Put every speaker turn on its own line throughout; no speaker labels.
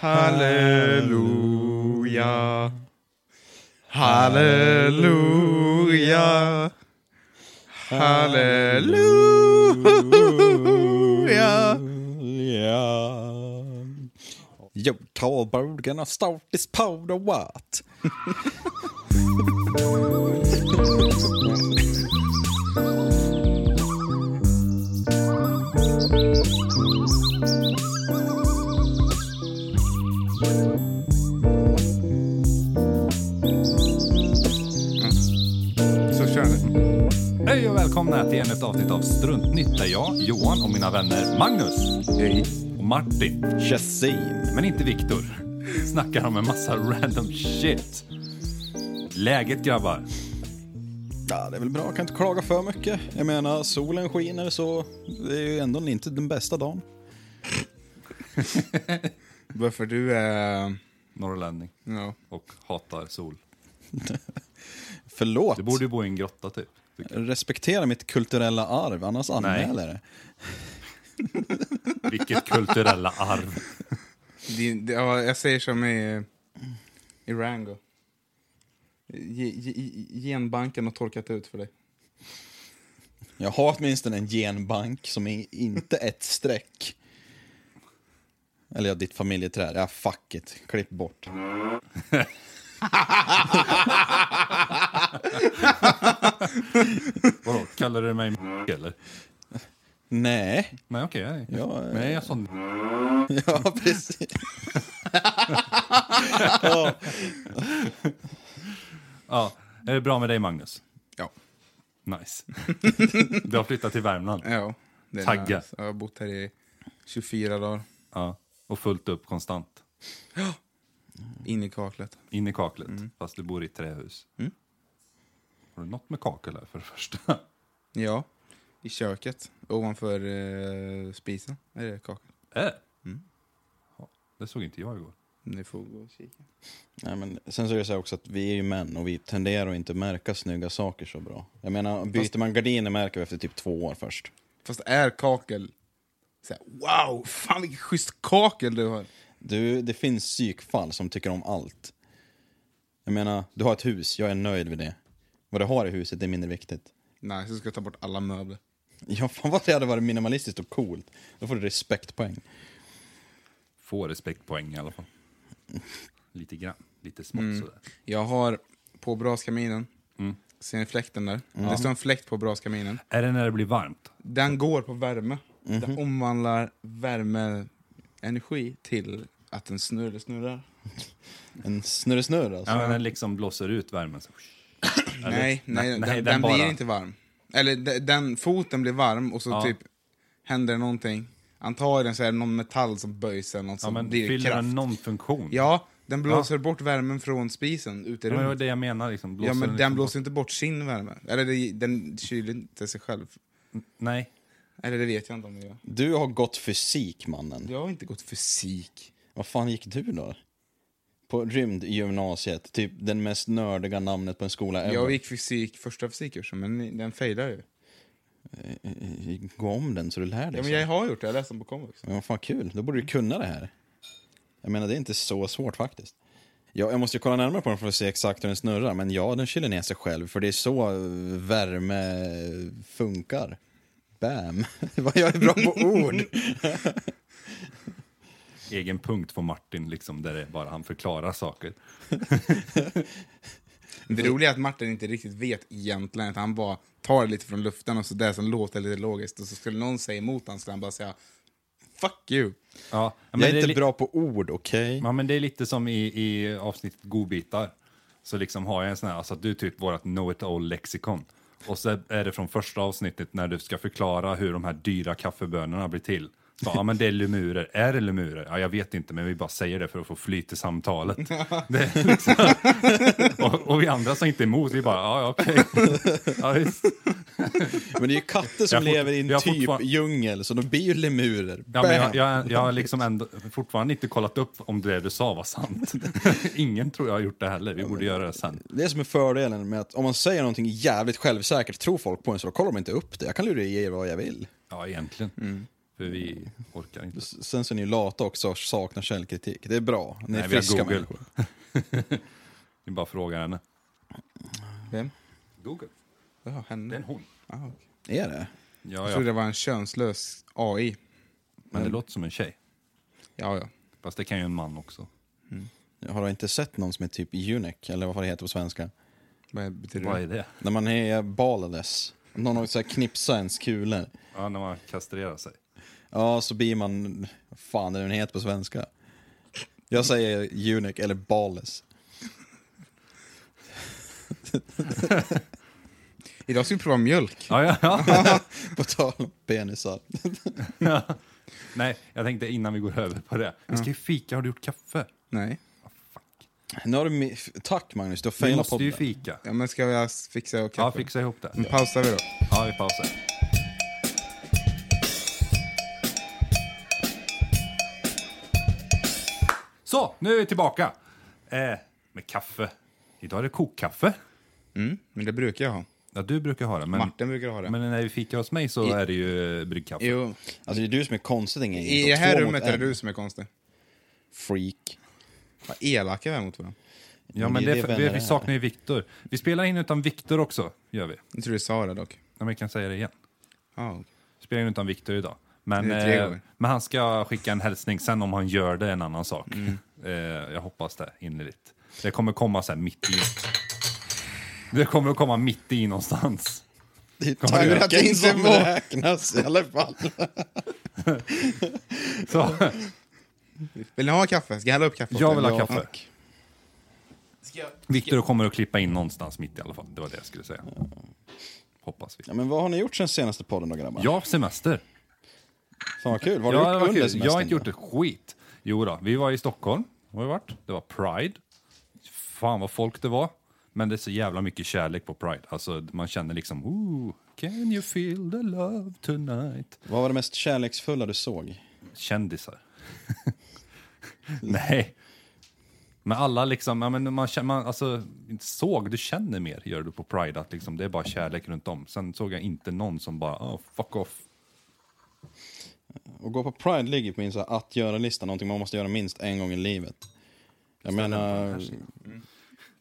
Halleluja. Halleluja. Halleluja. Halleluja.
Yo, Karlberg, gonna start this powder what?
Så kör vi.
Hej och välkomna till ännu ett avsnitt av Struntnytt där jag, Johan och mina vänner Magnus och Martin,
Chassin.
men inte Viktor, snackar om en massa random shit. Läget grabbar?
Ja, det är väl bra. Kan inte klaga för mycket. Jag menar, solen skiner så det är ju ändå inte den bästa dagen.
Varför du är...
Norrlänning
Ja.
och hatar sol.
Förlåt.
Du borde ju bo i en grotta typ. tycker
Respektera mitt kulturella arv, annars anmäler jag det.
jag. Vilket kulturella arv.
Din, det- ja, jag säger som i, i Rango. Ge- ge- Genbanken har torkat ut för dig.
Jag har åtminstone en genbank som är inte ett streck. Eller ja, ditt familjeträd. Ja, fuck it. Klipp bort.
Vadå, kallar du mig eller?
Nej.
Nej okej, nej.
Ja, eh.
nej jag sa n-
Ja, precis.
Ja, är det bra med dig Magnus?
Ja.
Nice. Du har flyttat till Värmland.
Ja. Det är
Tagga.
nice. Jag har bott här i 24 dagar.
Ja, och fullt upp konstant.
In i kaklet.
In i kaklet,
Mm.
fast du bor i ett trähus. Har du något med kakel här för det första?
Ja. I köket. Ovanför eh, spisen är det kakel.
Äh. Ja, det såg inte jag igår.
Ni får gå och kika.
Nej, men sen så är det så här också att vi är ju män och vi tenderar att inte märka snygga saker så bra. Jag menar, byter man gardiner märker vi efter typ två år först.
Fast är kakel... Så här, wow, fan vilken schysst kakel du har.
Du, det finns psykfall som tycker om allt. Jag menar, du har ett hus, jag är nöjd med det. Vad du har i huset det är mindre viktigt.
Nej, så ska jag ta bort alla möbler.
Ja, fan vad det hade varit minimalistiskt och coolt. Då får du respektpoäng.
Få respektpoäng i alla fall. Lite grann, lite smått
Mm.
sådär.
Jag har på braskaminen, ser ni fläkten där? Det står en fläkt på braskaminen.
Är det när det blir varmt?
Den går på värme. Den omvandlar värmeenergi till att den snurrar, snurrar.
En snurre-snurr alltså.
Ja, men den liksom blåser ut värmen. Så. Eller?
Nej, nej, den, den,
bara-
blir inte varm. Eller de- den, foten blir varm och så
Ja.
typ händer det någonting. Antagligen så är det någon metall som böjs eller något
Ja,
som
men
blir det
fyller
kraft.
den någon funktion?
Ja, den blåser bort värmen från spisen ute i
Ja, men det var
rummet.
det jag menar. Liksom. Blåser
Ja, men den
liksom
blåser inte bort sin värme. Eller det, den kyler inte sig själv.
bort- Nej.
Eller det vet jag inte om den gör.
Du har gått fysik, mannen.
Jag har inte gått fysik.
Vad fan gick du då? På rymdgymnasiet, typ den mest nördiga namnet på en skola ever.
Jag gick fysik, första fysikkursen, men den fejdar ju.
Gå om den så du lär dig.
Ja, men
så.
jag har gjort det, jag läste den på komvux.
Men vad fan kul, då borde du kunna det här. Jag menar, det är inte så svårt faktiskt. Ja, jag måste ju kolla närmare på den för att se exakt hur den snurrar, men ja, den kyler ner sig själv, för det är så eh, värme funkar. Bam! Vad jag är bra på ord!
Egen punkt på Martin, liksom, där det är bara han förklarar saker.
Det roliga är att Martin inte riktigt vet egentligen, att han bara tar det lite från luften och så där som låter lite logiskt, och så skulle någon säga emot honom, så han bara säga Fuck you!
Ja, men
jag
det
är inte
li-
bra på ord, okej?
Ja, men det är lite som i, i avsnittet godbitar. Så liksom har jag en sån här, alltså att du typ vårat know it all lexikon. Och så är det från första avsnittet när du ska förklara hur de här dyra kaffebönorna blir till. Så, ja men det är lemurer, är det lemurer? Ja jag vet inte men vi bara säger det för att få flyt i samtalet. Det är liksom, och, och vi andra sa inte emot, vi bara ja ja, okej. Ja, visst.
Men det är ju katter som
Jag har fort-
lever i en
jag har
typ
fortfar-
djungel, så de blir ju lemurer.
Ja, men
Bam!
jag, jag, jag har liksom ändå, fortfarande inte kollat upp om det du sa var sant. Ingen tror jag har gjort det heller, vi borde göra det sen.
Det är som är fördelen med att om man säger någonting jävligt självsäkert tror folk på en så då kollar de inte upp det. Jag kan lura i er vad jag vill.
Mm.
Ja, egentligen. För vi orkar inte.
S- Sen så är ni ju lata också och saknar källkritik. Det är bra. Ni är
Nej, vi har
friska
Google.
människor.
Ni bara frågar henne.
Vem?
Google.
Jaha, henne.
Det är en hon.
Ah, okej.
Är det?
Ja,
Jag trodde
ja.
det var en könslös AI.
Men det låter som en tjej.
Ja, ja.
Fast det kan ju en man också.
Jag har inte sett någon som är typ eunuch, eller vad fan det heter på svenska.
Vad betyder
Vad
det?
är det?
När man är ballless. Någon har så här knipsat ens kulor.
Ja, när man kastrerar sig.
Ja, så blir man... Vad fan är det den heter på svenska? Jag säger eunuch eller ballless.
Idag ska vi prova mjölk.
Ja, ja, ja.
På tal om penisar.
Nej, jag tänkte innan vi går över på det. Vi ska ju fika. Har du gjort kaffe?
Nej.
Nu har du... mi- Tack Magnus, du har
Vi
failat
måste ju
podden.
fika.
Ja, men ska jag fixa och
Ja,
kaffe? Mm.
fixa ihop det.
Nu pausar vi då.
Ja, vi pausar. Så, nu är vi tillbaka. Eh, med kaffe. Idag är det kokkaffe.
Mm, men det brukar jag ha.
Ja, du brukar ha det, men,
Martin brukar ha det.
men när vi fikar hos mig så är det ju eh, bryggkaffe.
Jo,
Alltså det är du som är konstig ingen.
i det här rummet är det du som är konstig.
Freak.
Vad elaka vi är mot varandra.
Ja,
Men
men
det är det
det, för,
vänner
vi,
är.
vi saknar ju Viktor. Vi spelar in utan Viktor också, gör vi.
Jag tror det är Sara dock. Ah,
Ja, men vi kan säga det igen.
Ja,
Vi spelar in utan Viktor idag. Men,
Det är tre
eh,
gånger.
men han ska skicka en hälsning sen om han gör det är en annan sak.
Mm.
Eh, jag hoppas det innerligt. Det kommer komma sen mitt i. Det kommer att komma mitt i någonstans.
Det är
du att det
tanken
inte
som
var-
räknas i alla fall.
Så,
Vill ni ha kaffe? Ska jag hälla upp kaffe? åt
jag
er?
vill ha
Ja.
kaffe. Viktor kommer att klippa in någonstans mitt i alla fall. Det var det jag skulle säga. Hoppas vi.
Ja, men vad har ni gjort sen senaste podden då grabbar?
Ja, semester.
Fan vad kul. Vad har
Ja,
du
det
gjort
var
under
kul.
semestern?
Jag har inte
då?
gjort ett skit. Jo då, vi var i Stockholm. Har vi varit. Det var Pride. Fan vad folk det var. Men det är så jävla mycket kärlek på Pride. Alltså man känner liksom Ooh, can you feel the love tonight?
Vad var det mest kärleksfulla du såg?
Kändisar. Nej. Men alla liksom, ja, men man, känner- man alltså, inte såg, du känner mer gör du på Pride att liksom, det är bara kärlek runt om. Sen såg jag inte någon som bara, oh, fuck off.
Att gå på Pride ligger på min så här, att göra-lista, någonting man måste göra minst en gång i livet. Jag menar,
Mm.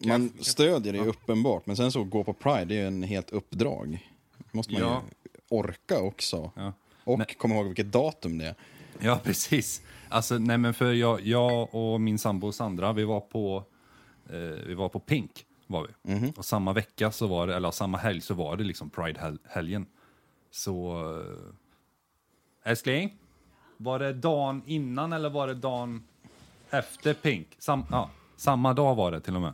man stödjer det ju uppenbart, men sen så att gå på Pride, det är ju en helt uppdrag. måste man
Ja.
ju orka också.
Ja.
Och komma ihåg vilket datum det är.
Ja, precis. Alltså, nej, men för jag, jag och min sambo Sandra, vi var på, eh, vi var på Pink. Var vi. Och samma vecka, så var det, eller samma helg, så var det liksom Pride-helgen. Så... Eh, älskling? Var det dagen innan eller var det dagen efter Pink? Sam, ja, samma dag var det till och med.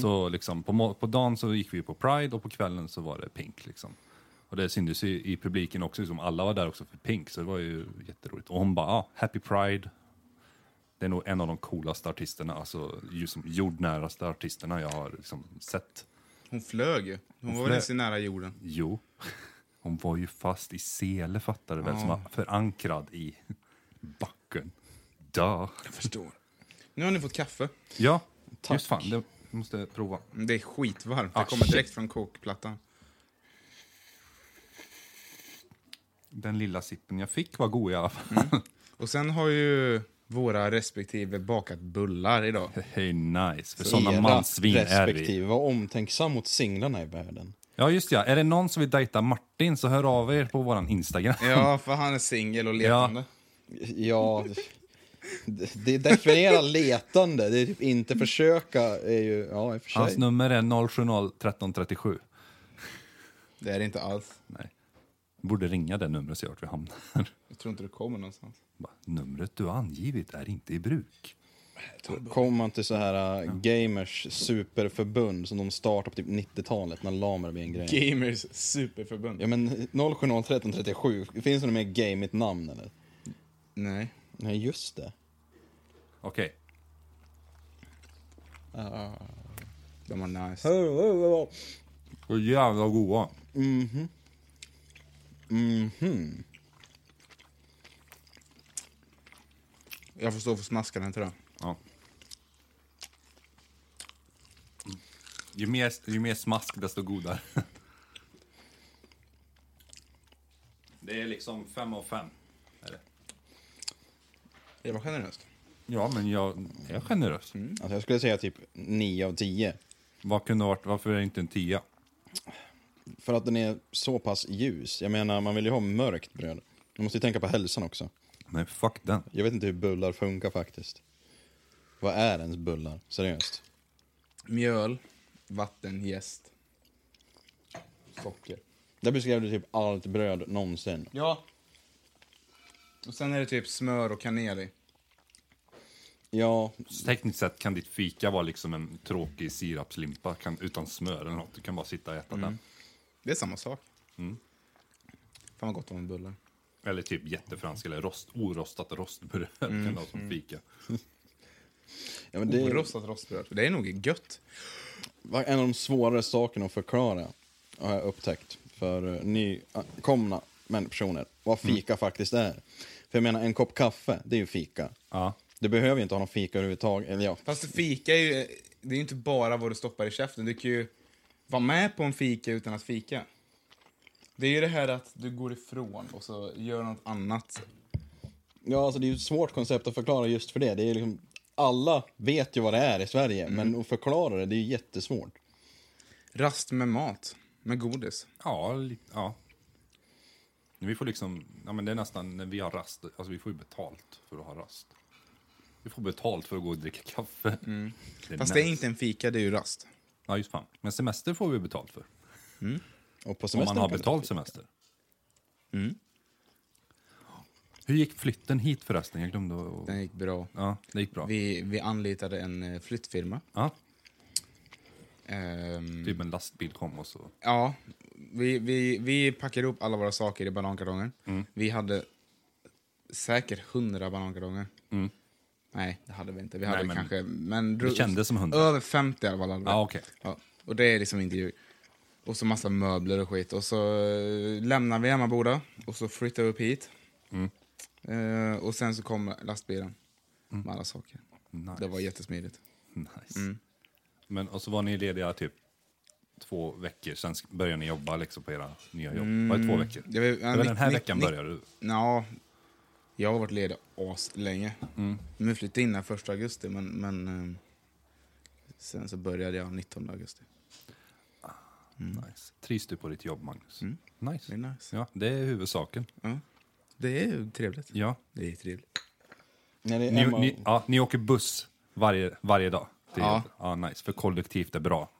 Så liksom, på, mo- på dagen så gick vi på Pride och på kvällen så var det Pink. Liksom. Och det syntes ju i publiken också, liksom, alla var där också för Pink, så det var ju jätteroligt. Och hon bara, ah, happy Pride. Det är nog en av de coolaste artisterna, alltså just som jordnäraste artisterna jag har liksom, sett.
Hon flög ju. Hon var väl
flög.
inte så nära jorden.
Jo, hon var ju fast i sele fattar du väl, som var förankrad i backen. Duh.
Jag förstår. Nu har ni fått kaffe.
Ja,
Tack.
just fan, det måste jag prova.
Mm, Det är skitvarmt.
Ah,
det kommer
shit.
direkt från kokplattan.
Den lilla sippen jag fick var god i alla fall.
Och sen har ju våra respektive bakat bullar idag.
Hey, nice, för sådana
Era
mansvin är vi.
respektive. Var omtänksam mot singlarna i världen.
Ja, just ja. Är det någon som vill dejta Martin så hör av er på våran Instagram.
Ja, för han är singel och letande.
Ja, det- det definierar letande. Det är typ inte försöka är ju, ja i och för sig.
Hans nummer är 070 13 37.
Det är det inte alls.
Nej. Borde ringa det numret så jag vart vi hamnar.
Jag tror inte du kommer någonstans.
Bara, Numret du har angivit är inte i bruk.
Kommer man till så här äh, gamers superförbund som de startade på typ 90-talet när lamer blev en grej.
Gamers superförbund.
Ja men 071337, finns det något mer gameigt namn eller?
Nej.
Nej just det.
Okej.
De var nice.
Alltså,
Så jävla goa.
Jag får stå för smaskaren tror jag.
Ja. Ju, mer, ju mer smask, desto godare. Det är liksom fem av fem.
Det var generöst.
Ja, men jag är generös.
Mm.
Alltså jag skulle säga typ 9 av 10.
Vad kunde varit, varför är det inte en tia?
För att den är så pass ljus. Jag menar, man vill ju ha mörkt bröd. Man måste ju tänka på hälsan också.
Nej, fuck den.
Jag vet inte hur bullar funkar faktiskt. Vad är ens bullar? Seriöst.
Mjöl, vatten, jäst, socker.
Där beskrev du typ allt bröd någonsin.
Ja. Och sen är det typ smör och kanel i.
Ja,
Så tekniskt sett kan ditt fika vara liksom en tråkig sirapslimpa kan, utan smör eller något. Du kan bara sitta och äta
Mm.
den.
Det är samma sak.
Mm.
Fan vad gott om bullar.
Eller typ jättefransk eller rost, orostat rostbröd
Mm.
kan du ha som fika.
ja men det är
Orostat rostbröd. Det är nog gött.
en av de svårare sakerna att förklara. Har jag upptäckt. För eh, nykomna men personer. Vad fika faktiskt är. För jag menar, en kopp kaffe, det är ju fika.
Ja.
Du behöver ju inte ha någon fika överhuvudtaget. Eller ja,
Fast fika är ju det är ju inte bara vad du stoppar i käften. Du kan ju vara med på en fika utan att fika. Det är ju det här att du går ifrån och så gör något annat.
Ja, alltså det är ju ett svårt koncept att förklara just för det. det är liksom, alla vet ju vad det är i Sverige,
Mm.
men att förklara det, det är ju jättesvårt.
Rast med mat, med godis.
Ja, li- ja. Vi får liksom, ja men det är nästan när vi har rast, alltså vi får ju betalt för att ha rast. Vi får betalt för att gå och dricka kaffe. Det är
Mm. Fast det är
nice.
inte en fika, det är ju rast.
Ja, just fan. Men semester får vi betalt för.
Och på
Om
semestern
man har
kan-
betalt semester. Mm. Hur gick flytten hit förresten? Jag glömde att...
Den gick bra.
Ja, det gick bra.
Vi, vi anlitade en eh, flyttfirma.
Ja,
Ehm,
typ en lastbil kom och så.
Ja, vi, vi, vi packade upp alla våra saker i banankartonger.
Mm.
Vi hade säkert hundra banankartonger. Nej, det hade vi inte. Vi hade
Mm. Nej, men-
kanske... Men
Det kändes som 100.
Över 50 i alla fall. hade vi.
Ja, okej.
Ja, och det är liksom inte ljug. Och så massa möbler och skit. Och så eh, lämnar vi Emmaboda och så flyttar vi upp hit.
Mm.
Eh, och sen så kom lastbilen med alla saker.
Mm. Nice.
Det var Mm. jättesmidigt.
Nice. Men, och så var ni lediga typ två veckor, sen sk- började ni jobba liksom på era nya jobb. Var det två veckor?
Det var- Mm. ja,
det var den här
nitt-
veckan
nitt-
började du.
Ja, jag har varit ledig as länge.
Mm.
Men vi flyttade in den första augusti, men, men eh, sen så började jag 19 augusti.
Nice. Trivs du på ditt jobb, Magnus?
Mm. Det är
Nice.
nice.
Ja, det är huvudsaken.
Det är ju trevligt.
Ja.
Det är trevligt.
Nej, det är
Ni,
Emma,
ni, ja, ni åker buss varje, varje dag? till
Ja.
jobbet. ja. Nice, för kollektivt är bra.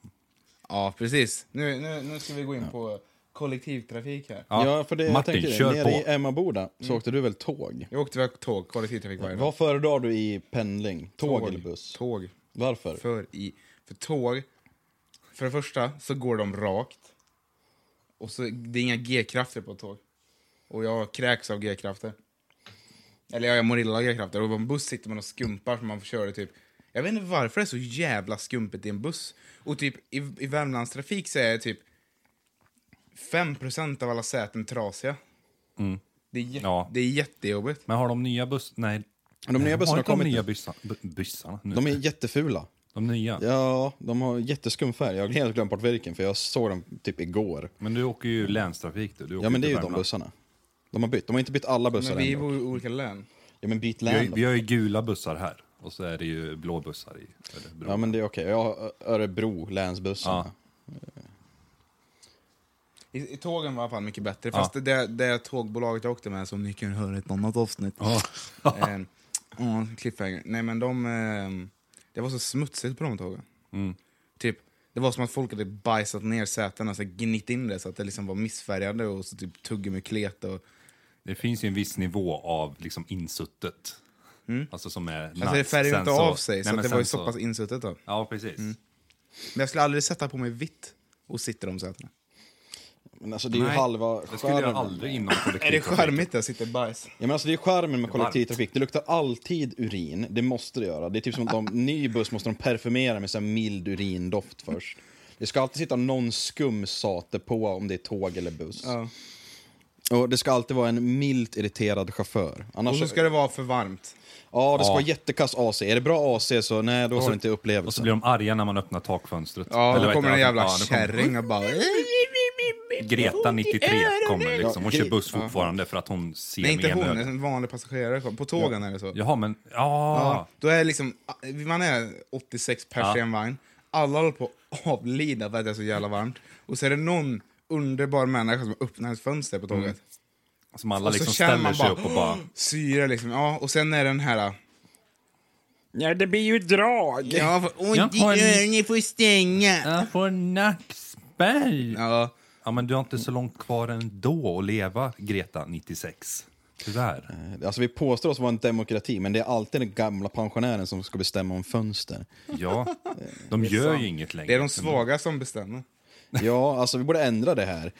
Ja, precis. Nu, nu, nu ska vi gå in på kollektivtrafik här.
ja, för det
Martin,
jag tänkte,
kör
nere
på. Mm.
i Emmaboda så åkte du väl tåg?
Jag åkte väl tåg, kollektivtrafik varje dag.
Vad föredrar du i pendling? Tåg, eller buss?
Tåg.
Varför?
För, i, för tåg, för det första så går de rakt. Och så, det är inga G-krafter på tåg. Och jag kräks av G-krafter. Eller ja, jag mår illa av G-krafter. Och på en buss sitter man och skumpar för man kör det typ. Jag vet inte varför det är så jävla skumpet i en buss. Och typ i, i Värmlandstrafik så är typ 5% av alla säten trasiga. Det, är jä-
Ja.
det är jättejobbigt.
Men har de nya buss... Nej.
De nya
Nej,
bussarna
har
har
inte de
kommit
nya
nu.
bussarna, bussarna nu?
De
De,
är jättefula.
nya?
Ja, de har jätteskum färg. Jag har helt glömt bort vilken, för jag såg dem typ igår.
Men du åker ju länstrafik du. du åker
Ja, men det är ju
till
de
Värmland.
bussarna. De har bytt. De har inte bytt alla bussar
Men vi
än. dock.
bor i olika län.
Ja, men byt
Vi har,
län
ju-
då.
vi har ju gula bussar här och så är det ju blå bussar i Örebro.
Ja, men det är okej. Jag har Örebro, länsbussarna.
I, I tågen var i alla fall mycket bättre, fast det, det tågbolaget jag åkte med som ni kan höra i ett annat avsnitt. Ja, eh, ja, cliffhanger. Nej men de, eh, det var så smutsigt på de tågen. Typ, det var som att folk hade bajsat ner sätena, så gnitt in det så att det liksom var missfärgade och så typ tugga med klet. Och,
Det finns ju en viss nivå av liksom insuttet.
Mm.
Alltså som är
alltså det färgade inte av sig, så
Nej,
att
men
det var ju
sen
så pass Mm. insuttet då.
Ja, precis.
Men jag skulle aldrig sätta på mig vitt och sitta i de sätena.
Men alltså det är ju
Nej,
halva
Det skulle jag
skärmen.
aldrig inom
Är det
kollektivtrafiken.
charmigt att sitta i bajs?
Ja, men alltså det är skärmen med kollektivtrafik. Det luktar alltid urin. Det måste det göra. Det är typ som att de, ny buss måste de perfumera med så här mild urindoft först. Det ska alltid sitta någon skum sate på om det är tåg eller buss.
Ja.
Och det ska alltid vara en milt irriterad chaufför.
Och
Annars...
så ska det vara för varmt.
Ja, det ska
Ja.
vara jättekass AC. Är det bra AC så nej, då har
så-
du inte
Och så
upplevelsen.
blir de arga när man öppnar takfönstret.
Ja,
Eller
då
vet
kommer
jag,
en jävla
ja, det kommer-
kärring och bara...
Greta 93 kommer liksom. Hon
Ja,
kör
Gre-
buss fortfarande för att hon ser
Nej, inte
med
hon,
ena ögat.
en vanlig passagerare. kom. På tågen är det så.
Jaha, men... Ja.
Ja, då är det liksom, man är 86 pers
Ja.
i en vagn, alla håller på att avlida för att det är så jävla varmt. Och så är det någon underbar människa som öppnar ett fönster på tåget.
Som Mm. alla
Och så
liksom
känner
ställer
man
sig
bara,
upp och bara...
Syra liksom, ja. Och sen är det den här...
Ja, det blir ju drag!
Ja, för, och
Jag har en-
ni får stänga.
Jag får nackspärr! Ja.
Ja,
men du har inte så långt kvar ändå att leva, Greta 96. Tyvärr.
Alltså vi påstår oss vara en demokrati, men det är alltid den gamla pensionären som ska bestämma om fönster.
Ja. De gör ju inget längre.
det är de svaga som bestämmer.
Ja, alltså vi borde ändra det här.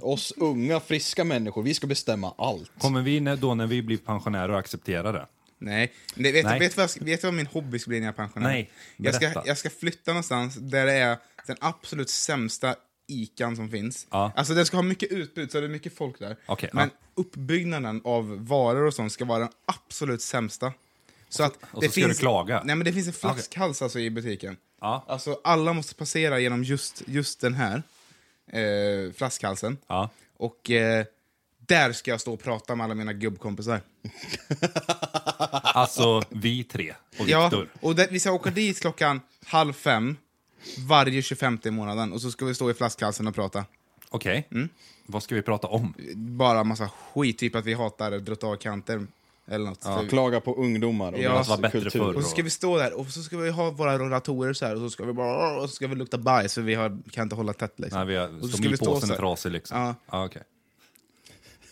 Oss unga, friska människor, vi ska bestämma allt.
Kommer vi när, då när vi blir pensionärer att acceptera det?
Nej, Nej, vet,
Nej.
Nej. Vet, du vad, jag- vet du vad min hobby ska bli när jag är pensionär?
Nej,
jag ska,
berätta.
jag ska flytta någonstans där det är den absolut sämsta ikan som finns.
Ja.
Alltså det ska ha mycket utbud, så det är mycket folk där.
Okej,
Men uppbyggnaden av varor och sånt ska vara den absolut sämsta. Så att
och
det
så ska
finns,
du klaga.
Nej men det finns en flaskhals alltså i butiken.
Ja.
Alltså alla måste passera genom just, just den här eh, flaskhalsen.
Ja.
Och eh, där ska jag stå och prata med alla mina gubbkompisar.
Alltså, vi tre och
Ja,
Viktor.
och det, vi ska åka dit klockan halv fem varje 25 i månaden och så ska vi stå i flaskhalsen och prata.
Okej.
Mm.
Vad ska vi prata om?
Bara massa skit, typ att vi hatar trottoarkanter eller något. Så vi-
typ
Klaga på ungdomar och
Ja,
deras
det var
bättre förr.
och så ska vi stå där och så ska vi ha våra rollatorer så här och så ska vi bara och så ska vi lukta bajs för vi har, kan inte hålla tätt liksom.
När vi
och
har,
så ska vi stå
stomipåsen
så här.
är trasig liksom.
Ja.
Ja, okej.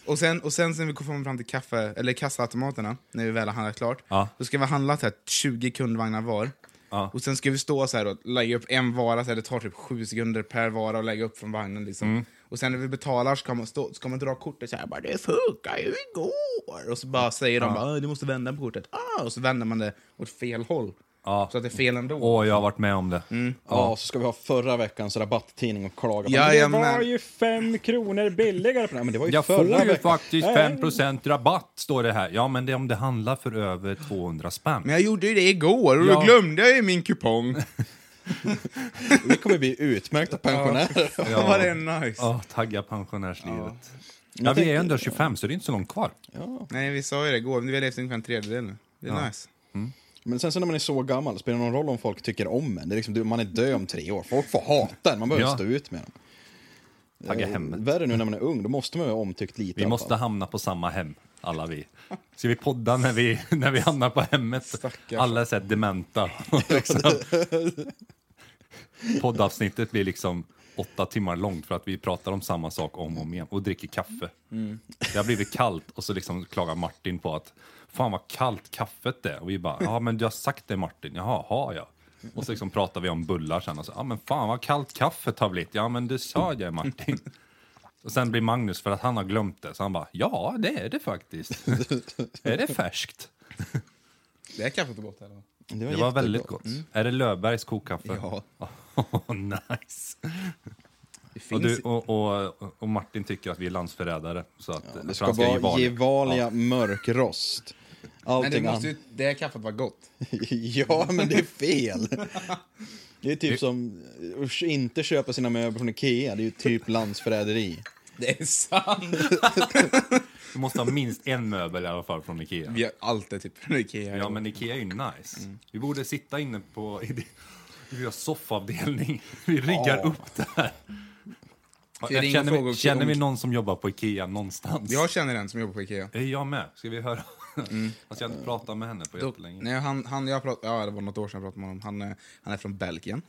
Och sen, och sen när vi kommer fram till kaffe, eller kassaautomaterna, när vi väl har handlat klart,
Ja.
då ska vi ha handlat här 20 kundvagnar var.
Ja.
Och sen ska vi stå så här och lägga upp en vara, så här, det tar typ 7 sekunder per vara att lägga upp från vagnen. Liksom.
Mm.
Och sen när vi betalar så kan man, stå, så kan man dra kortet så här, bara, det funkar ju igår. Och så bara säger de, bara, "Äh, du måste vända på kortet. Ah, och så vänder man det åt fel håll.
Ja.
Så att det är fel ändå.
Åh, jag har varit med om det.
Mm.
Ja, så ska vi ha förra veckans rabatttidning och klaga på.
Jajamän.
men det var ju fem kronor billigare på den. här." Men det var ju
Jag får
förra
ju
veckan.
faktiskt
Nej.
5% rabatt, står det här. Ja, men det är om det handlar för över 200 spänn.
Men jag gjorde ju det igår och
Ja.
då glömde jag ju min kupong.
Vi kommer bli utmärkta pensionärer.
Ja. Var det är nice?
Ja, tagga pensionärslivet. Ja,
Jag
vi är
tänkte-
ju ändå 25, så det är inte så långt kvar.
Nej, vi sa ju det igår, vi har levt ungefär en tredjedel nu. Det är nice.
Men sen så när man är så gammal, spelar det någon roll om folk tycker om en? Det är liksom, du- man är död om tre år. Folk får hata en, man behöver
Ja.
stå ut med dem. Eh,
Tagga hemmet.
Värre nu när man är ung, då måste man ju vara omtyckt lite. i
Vi
alla
måste
fall.
hamna på samma hem, alla vi. Ska vi podda när vi, när vi hamnar på hemmet?
Stackars.
Alla är så här dementa. Liksom. Poddavsnittet blir liksom åtta timmar långt för att vi pratar om samma sak om och om igen och dricker kaffe. Det har blivit kallt och så liksom klagar Martin på att fan vad kallt kaffet är. Och vi bara, ja men du har sagt det Martin, jaha, har jag? Och så liksom pratar vi om bullar sen och så, ja men fan vad kallt kaffet har blivit, ja men det sa jag Martin. Och sen blir Magnus, för att han har glömt det, så han bara ja, det är det faktiskt. är det färskt?
Det är kaffet gott eller?
Det var väldigt gott. Är det Löfbergs kokkaffe?
Mm. Ja.
Åh, nice.
Det finns
Och, du, och, och, och Martin tycker att vi är landsförrädare. Så att,
Det
för
ska
han ge
vara
val.
Gevalia mörkrost.
Men det,
Allting annat.
måste ju, det här kaffet var gott.
ja, men det är fel. Det är typ som, usch, inte köpa sina möbler från Ikea, det är ju typ landsförräderi.
Det är sant!
Du måste ha minst en möbel i alla fall från Ikea.
Vi har alltid typ från Ikea.
Ja, men Ikea är ju nice.
Mm.
Vi borde sitta inne på... i det- Vi har soffavdelning. Vi riggar upp det här.
Det är
Jag
ingen
känner,
fråga
vi,
om-
känner vi någon som jobbar på Ikea någonstans?
Jag känner en som jobbar på Ikea.
Det är jag med. Ska vi höra? Alltså, jag har inte pratat med henne på
Mm. Då,
jättelänge.
nej, han, han, jag prat, ja, det var något år sedan jag pratade med honom. Han, eh, han är från Belgien.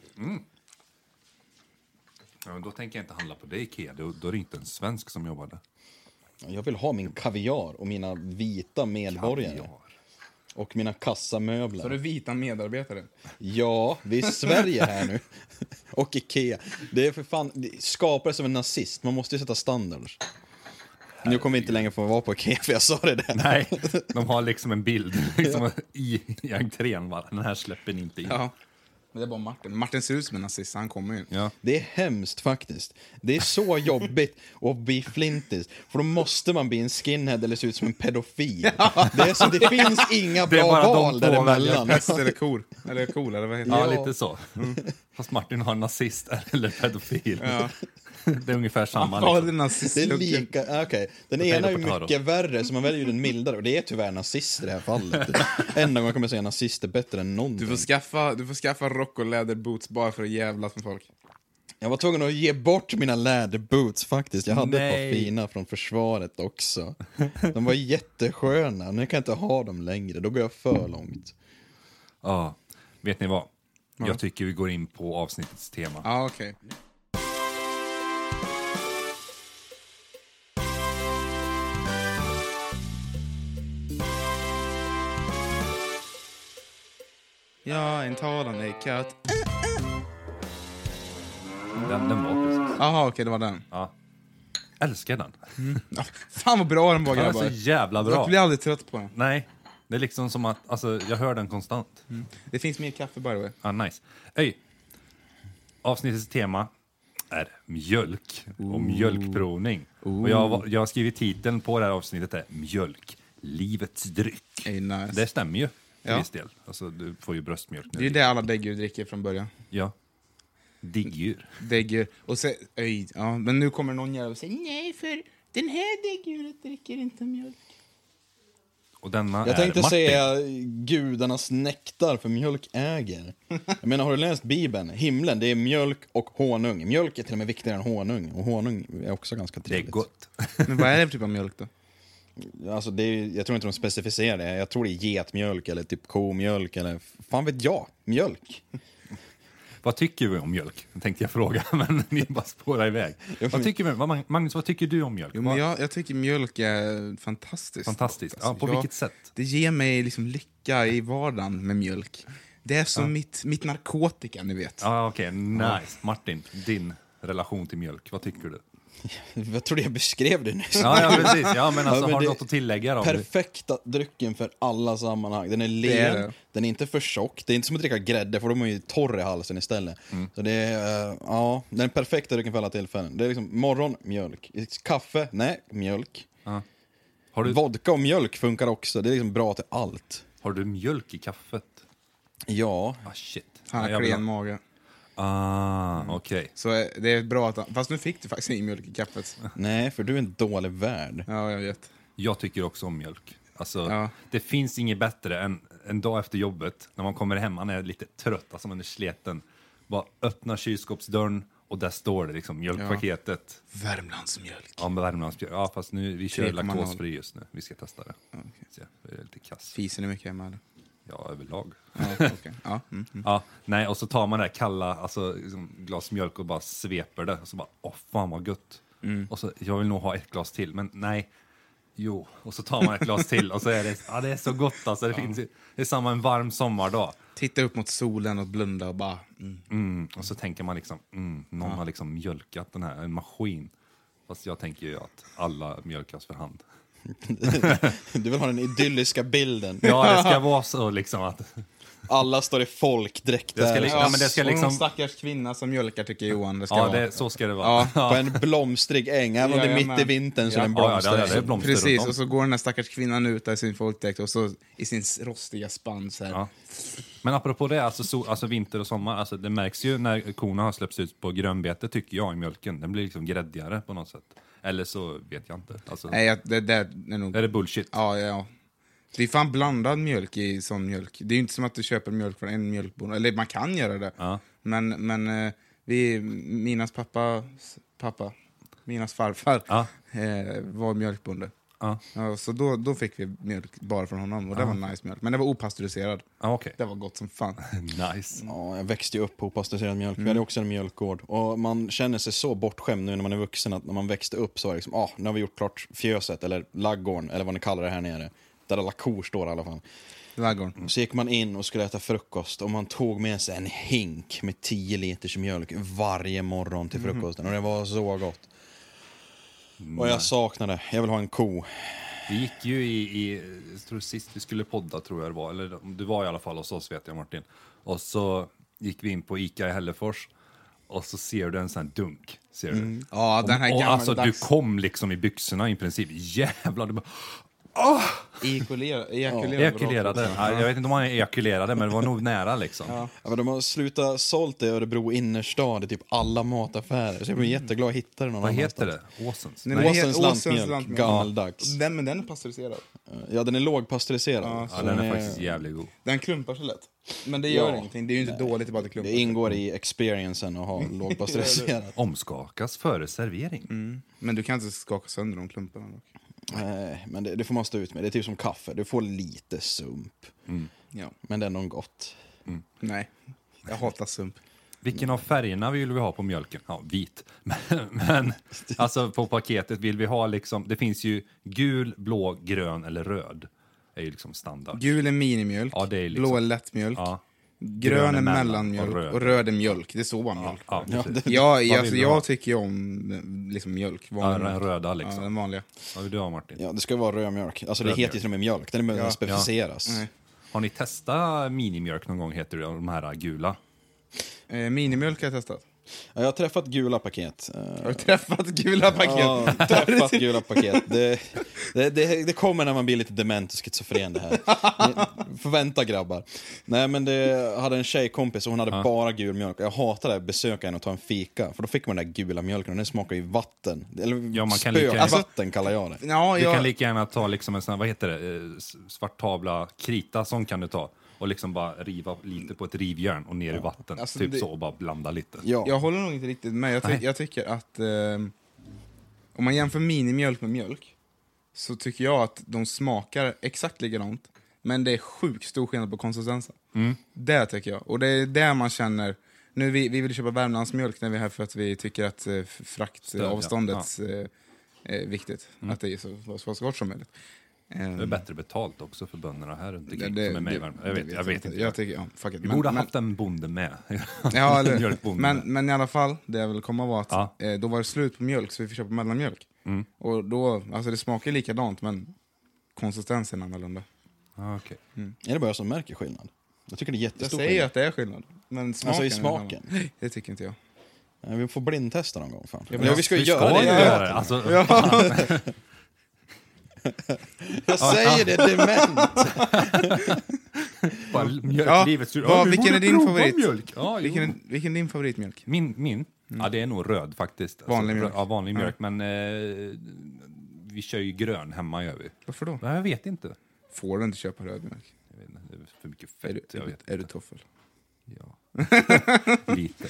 Ja, men då tänker jag inte handla på det Ikea. Då, då är det inte en svensk som jobbar där.
Jag vill ha min kaviar och mina vita medborgare. Och mina
Så det
kassamöbler.
är vita medarbetare.
Ja, vi är i Sverige här nu. Och Ikea. Det är för fan, det skapades av en nazist, man måste ju sätta standards. Nu kommer vi inte längre få vara på Ikea, för jag sa det där.
Nej, de har liksom en bild liksom, i, i entrén. Bara. Den här släpper ni inte in.
Ja. Men det är bara Martin. Martin ser ut som en nazist, han kommer ju.
Ja.
Det är hemskt faktiskt. Det är så jobbigt att bli flintis, för då måste man bli en skinhead eller se ut som en pedofil. Det, är så, det finns inga
Det är
bra
bara de
val
två
däremellan.
Häst eller kor. Eller kol, eller vad heter
Ja,
det?
lite så. Fast Martin har nazist eller pedofil. det är ungefär samma.
Ja, det är
Liksom.
Det är
nazistlucken.
lika, okej. Den
Jag
ena är
tänkte på
ju mycket värre, så man väljer ju den mildare. Och det är tyvärr nazister i det här fallet. Enda gången jag kommer säga nazister bättre än någon.
Du får, skaffa, du får skaffa rock och läderboots bara för att jävlas med folk.
Jag var tvungen att ge bort mina läderboots faktiskt. Jag hade ett
Nej.
par fina från försvaret också. De var jättesköna. Nu kan jag inte ha dem längre, då går jag för långt.
Ja. Vet ni vad? Jag tycker vi går in på avsnittets tema.
Ja, okej. Jag är en talande katt.
Den, den var precis.
Jaha, okej, det var den.
Ja. Älskar den.
Ja, Fan vad bra den var
Den är så
grabbar.
jävla bra.
Jag blir aldrig trött på den.
Nej, det är liksom som att alltså, jag hör den konstant.
Det finns mer kaffe by the way.
Ah, nice. Öj. Avsnittets tema är mjölk och mjölkprovning. Och jag, har- jag har skrivit titeln på det här avsnittet är Mjölk, livets dryck.
Ey, nice.
Det stämmer ju till
Ja.
viss del. Alltså, du får ju bröstmjölk.
Det är ju
Nu.
det alla däggdjur dricker från början.
Ja. Diggdjur.
Däggdjur. Och sen, öj, ja, men nu kommer någon jävel och säger nej för den här däggdjuret dricker inte mjölk.
Och denna
Jag
är
tänkte
Martin.
säga gudarnas nektar, för mjölk äger. Jag menar, har du läst Bibeln? Himlen, det är mjölk och honung. Mjölk är till och med viktigare än honung. Och honung är också ganska
Det är
trevligt.
gott.
Men vad är det för typ av mjölk då?
Alltså det är, jag tror inte de specificerar det. Jag tror det är getmjölk eller typ komjölk eller fan vet jag. Mjölk.
Vad tycker vi om mjölk? Tänkte jag fråga, men ni bara spårar iväg. Vad tycker vi, vad, Magnus, vad tycker du om mjölk?
Jo,
Vad-
men jag, jag tycker mjölk är fantastiskt. Alltså,
Fantastiskt. Ja, på
jag-
vilket sätt?
Det ger mig liksom lycka i vardagen med mjölk. Det är som mitt, mitt narkotika, ni vet.
Ja, okej. Nice. Martin, din relation till mjölk, vad tycker du?
Jag tror det jag beskrev det nyss.
Ja, ja precis. Ja, men alltså,
men
har du
det-
något att tillägga då?
Perfekta drycken för alla sammanhang. Den är
Det
len,
är det.
den är inte för tjock. Det är inte som att dricka grädde för då är man ju torr i halsen istället.
Mm.
Så det är, eh, ja, den perfekta drycken för alla tillfällen. Det är liksom morgon, mjölk. Kaffe, nej, mjölk.
Har du,
Vodka och mjölk funkar också. Det är liksom bra till allt.
har du mjölk i kaffet?
Ja,
Ah, shit.
Han
Ja,
har
jag vill
klen
ha-
mage.
Ah, okej.
Så eh, det är bra att han, Fast nu fick du faktiskt ingen mjölk i kaffet.
nej, för du är en dålig värd.
Ja, jag vet.
Jag tycker också om mjölk. Alltså,
Ja.
Det finns inget bättre än en dag efter jobbet, när man kommer hem, man är lite trött, alltså man är sliten. Bara öppna kylskåpsdörren och där står det liksom mjölkpaketet.
Värmlandsmjölk.
Ja, med Värmlandsmjölk. Ja, fast nu, vi kör
3,0.
laktosfri just nu. Vi ska testa det. Se, det är lite kass.
Fiser ni mycket hemma? eller?
Ja, överlag.
Ja, okej. ja, mm.
Ja, nej, och så tar man det här kalla alltså, liksom, glas mjölk och bara sveper det. Och så bara, åh fan vad gött. Och så, jag vill nog ha ett glas till, men nej. Jo, och så tar man ett glas till och så är det, ja, det är så gott alltså. Det, finns, ju- det är samma en varm sommardag.
Titta upp mot solen och blunda och bara... Mm.
Mm. Och så tänker man liksom, mm, någon har liksom mjölkat den här, en maskin. Fast jag tänker ju att alla mjölkas för hand.
Du vill ha den idylliska bilden.
Ja, det ska vara så liksom att...
Alla står i folkdräkter.
Det ska li- Ja, men det ska
och
liksom-
någon stackars kvinna som mjölkar tycker Johan det ska
Ja,
vara.
det, så ska det vara.
Ja.
På en blomstrig äng, även om det är
Jajamän.
mitt i vintern så är det en
Ja, ja, det-
blomsteräng.
det är blomster runt
Precis,
om.
och så går den här stackars kvinnan ut där i sin folkdräkt och så i sin s- rostiga spann så här.
Ja. Men apropå det, alltså, so, alltså vinter och sommar, alltså, det märks ju när korna har släppts ut på grönbete tycker jag i mjölken. Den blir liksom gräddigare på något sätt. Eller så vet jag inte. Alltså,
Nej, jag- det där är nog...
är det bullshit?
Ja, ja. Det är fan blandad mjölk i sån mjölk. Det är ju inte som att du köper mjölk från en mjölkbonde. Eller man kan göra det.
Ja.
Men, men eh, vi, Minas pappa, pappa, Minas farfar
Ja.
eh, var mjölkbonde.
Ja,
Ja, så då, då fick vi mjölk bara från honom och det var nice mjölk. Men det var opastöriserad.
ja Ah, okej.
Det var gott som fan.
Nice.
Ja, jag växte ju upp på pasteuriserad mjölk.
Mm.
Vi hade också en mjölkgård. Och man känner sig så bortskämd nu när man är vuxen att när man växte upp så var det liksom, ah, nu har vi gjort klart fjöset eller laggården eller vad ni kallar det här nere. Där alla kor står i alla fall.
Laggården.
Så gick man in och skulle äta frukost och man tog med sig en hink med 10 liters mjölk varje morgon till
Mm.
frukosten. Och det var så gott. Och jag saknade, jag vill ha en ko.
Vi gick ju i, i, jag tror sist vi skulle podda tror jag det var, eller du var i alla fall hos oss vet jag Martin. Och så gick vi in på Ica i Hällefors och så ser du en sån här dunk. Ser du?
Mm. Ja, den här
och, och alltså du
gammaldags-
kom liksom i byxorna i princip. Jävlar, du bara...
Ejakulera, ejakulerade.
Ejakulerade.
rakt.
Ja, jag vet inte om han ejakulerade, men det var nog nära liksom. Ja.
Ja, men de har slutat sålt i Örebro innerstad i typ alla mataffärer. Så jag blir jätteglad att hitta det någon
Vad heter
annanstans.
det? Åsens?
Nej,
Nej.
men
Åsens
he-
lantmjölk, gammaldags.
Den, men den är pasteuriserad.
Ja, den är lågpasteuriserad.
Ja,
Så
den
den
är faktiskt jävligt god.
Den klumpar så lätt. Men det gör
Ja.
ingenting, det är ju inte dåligt bara att det klumpar.
Det ingår i experiencen att ha lågpasteuriserad.
Omskakas före servering.
Men du kan inte skaka sönder de klumparna. dock.
Nej, Eh, men det, det får man stå ut med. Det är typ som kaffe, du får lite sump.
Ja.
Men det är ändå gott.
Nej, jag hatar sump.
Vilken av färgerna vill vi ha på mjölken? Ja, vit. Men, men alltså på paketet vill vi ha liksom, det finns ju gul, blå, grön eller röd. Det är ju liksom standard.
Gul är minimjölk,
Ja, det är liksom-
blå är lättmjölk,
Ja,
grön är mellanmjölk och
och
röd,
röd.
är mjölk. Det står bara
ja,
mjölk.
ja,
Ja,
precis.
det-
Ja,
vill
alltså,
du
jag
ha?
tycker ju om eh, liksom, mjölk.
ja,
Vanlig
den
mjölk.
röda
Ja,
liksom.
den vanliga.
Vad vill du ha Martin?
Ja, det ska vara rödmjölk. Alltså det heter ju till och med mjölk, den behöver
Ja.
inte specificeras.
Nej.
Har ni testat minimjölk någon gång heter det, de här gula?
Eh, minimjölk har jag testat.
Ja, jag har träffat gula paket. Eh,
Har du träffat gula paket?
Ja, träffat gula paket. Det, det, det, det kommer när man blir lite dement och schizofren det här. Ni- Förvänta grabbar. Nej men det, jag hade en tjejkompis och hon hade bara gul mjölk. Jag hatar det här besöka henne och ta en fika. För då fick man den där gula mjölken och den smakar ju vatten. Eller
Ja, man kan lika gärna-
spökvatten kallar jag det.
Ja,
Du
jag,
kan lika gärna ta liksom en sån här, vad heter det, Eh, s- svart tavla, krita, sån kan du ta. Och liksom bara riva lite på ett rivjärn och ner i vatten.
Alltså,
typ
det-
så och bara blanda lite.
Ja.
jag håller nog inte riktigt med. Jag, ty-
Nej.
jag tycker att ehm, om man jämför minimjölk med mjölk så tycker jag att de smakar exakt likadant. Men det är sjukt stor skillnad på konsistensen.
Mm.
Det tycker jag. Och det är där man känner... Nu vi, vi vill köpa Värmlandsmjölk när vi är här för att vi tycker att eh, f- fraktavståndet eh, är viktigt. Att det är så, så, så gott som möjligt. Ehm,
Mm. Det är bättre betalt också för bönderna här runt
det-
omkring
det-
som är med i
det-
Värmland.
det
Jag vet, jag vet inte.
Jag tycker, ja, fuck it.
Vi
Men-
borde ha
men-
haft en bonde med.
Ja,
En
eller,
mjölkbonde
men,
med.
men i alla fall, det jag vill komma var att
Ja. Mm.
eh, då var det slut på mjölk så vi fick köpa mellanmjölk. Och då, alltså det smakar likadant men konsistensen är annorlunda.
Ah, okej.
Är det bara jag som märker skillnad? Jag tycker det är
Jag
jättestor
säger ju
skillnad.
att det är skillnad. Men smaken
Alltså i
är en annan.
smaken.
Det tycker inte jag.
Ja, Vi får blindtesta någon gång fan. Ja,
men
vi ska ju
Vi ska
göra det.
ju göra det. Alltså,
Jag säger det, dement!
bara
Ja,
mjölklivet. Ja,
vad-
vi
vilken
borde
är din
prova
favorit?
Mjölk. Ja, jo.
Vilken, är- vilken är din favoritmjölk?
Min? min? Ja, det är nog röd faktiskt. Alltså,
Vanlig mjölk.
Ja, vanlig mjölk. Men eh, vi kör ju grön hemma gör vi.
Varför då?
Nej, jag vet inte.
Får du inte köpa röd mjölk?
Jag vet inte, det är För mycket
Är
fett.
du,
Jag
är,
vet
du- är du
inte.
toffel?
Ja. Lite.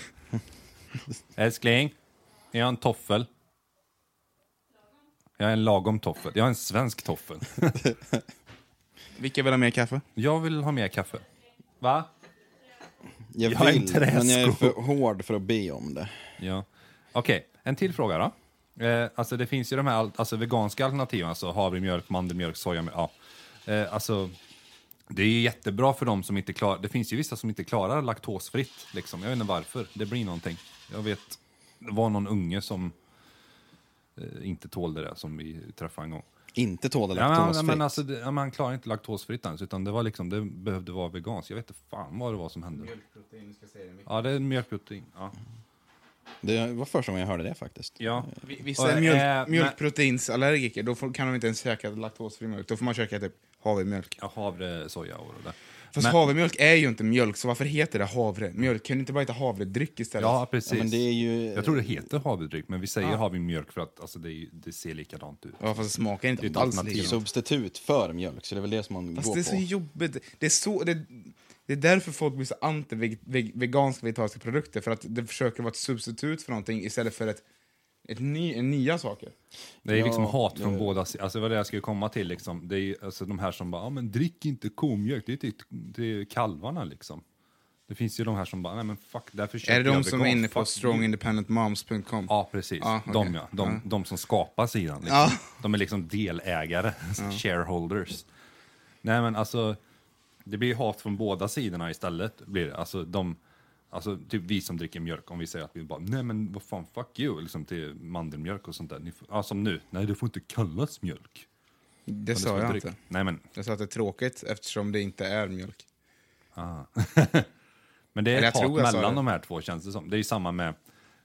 Älskling, är jag en toffel? Jag är en lagom toffel. Jag är en svensk toffel.
Vilka vill ha mer kaffe?
Jag vill ha mer kaffe. Va?
Jag
Jag är en
vill, men jag är
träsko.
för hård för att be om det.
Ja. Okej, en till fråga då. Eh, alltså det finns ju de här al- alltså veganska alternativen, alltså havremjölk, mandelmjölk, sojamjölk. Ja. Eh, alltså, det är ju jättebra för dem som inte klarar, det finns ju vissa som inte klarar laktosfritt. Liksom. Jag vet inte varför, det blir någonting. Jag vet, det var någon unge som eh, inte tålde det som vi träffade en gång.
Inte tåla
Ja, men,
laktosfritt.
men alltså, det, ja, man klarar inte laktosfritt ens, utan det, var liksom, det behövde vara veganskt. Jag vet inte fan vad det var som hände. Ja, det är mjölkprotein. Ja.
Det var första gången jag hörde det faktiskt.
Ja.
Vissa
Och,
är mjölk,
eh, men-
mjölkproteinsallergiker, då får, kan de inte ens käka laktosfri mjölk. Då får man käka typ havremjölk.
Ja, havre, soja och det där.
Fast
Men-
havremjölk är ju inte mjölk, så varför heter det havremjölk? Kan du inte bara heta havredryck istället?
Ja, precis.
Ja, men det är ju...
Jag tror det heter havredryck, men vi säger havremjölk för att alltså, det, är ju- det ser likadant ut.
Ja, fast det smakar inte
Det är
alls
alternativ.
det är
lika.
substitut för mjölk, så det är väl det som man
Fast
går
det är så
på.
jobbigt. Det är, så, det, det är därför folk blir så anti veg, veg, veganska vegetariska produkter, för att det försöker vara ett substitut för någonting istället för ett, ett ny, en nya saker.
Det är liksom hat från
det-
båda sidor. Alltså, det var det jag skulle komma till. Liksom. Det är ju, alltså, de här som bara, ah, men drick inte komjölk, det är till det är kalvarna liksom. Det finns ju de här som bara, nej men fuck, därför köper
Är det de
jag
som är
veganskt,
inne på
fuck you."
strongindependentmoms.com?
Ja, precis.
Ja, okej.
De, ja. De, de som skapar sidan. Liksom.
Ja.
De är liksom delägare, shareholders. Nej, men alltså, det blir hat från båda sidorna istället. Blir det. Alltså, de, alltså, typ vi som dricker mjölk, om vi säger att vi bara, nej men vad fan, fuck you, liksom till mandelmjölk och sånt där. Ni får, ja, som nu, nej det får inte kallas mjölk.
det
Men
sa
ska
jag
dryck.
inte.
Nej, men,
Jag sa att det är tråkigt eftersom det inte är mjölk.
men det
Eller
är ett
jag
hat
tror jag sa
mellan
det.
de här två känns det som. Det är ju samma med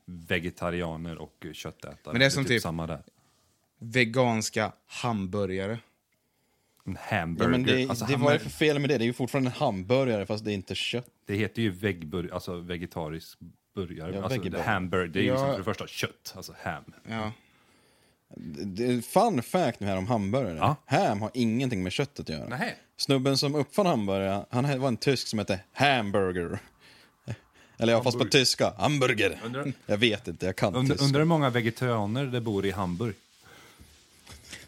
vegetarianer och eh,
typ-
köttätare.
Men det är som typ-
samma där.
Veganska hamburgare.
En hamburger.
Ja, men det,
alltså,
det,
ham-
vad är det för fel med det? Det är ju fortfarande en hamburgare fast det är inte kött.
det heter ju väggburgare, alltså vegetarisk burgare.
Ja,
alltså,
veggie-
det- hamburger, det är ju
Ja.
liksom för det första kött, alltså ham.
Ja.
Det- Fun fact nu här om hamburgare.
Ja.
Ham har ingenting med köttet att göra.
Nej.
Snubben som uppfann hamburgare, han var en tysk som hette Hamburger. Eller ja, fast på
Hamburg.
tyska. Hamburger.
Undrar-
Jag vet inte, jag kan
Undrar
tyska.
undrar hur många vegetarianer det bor i Hamburg?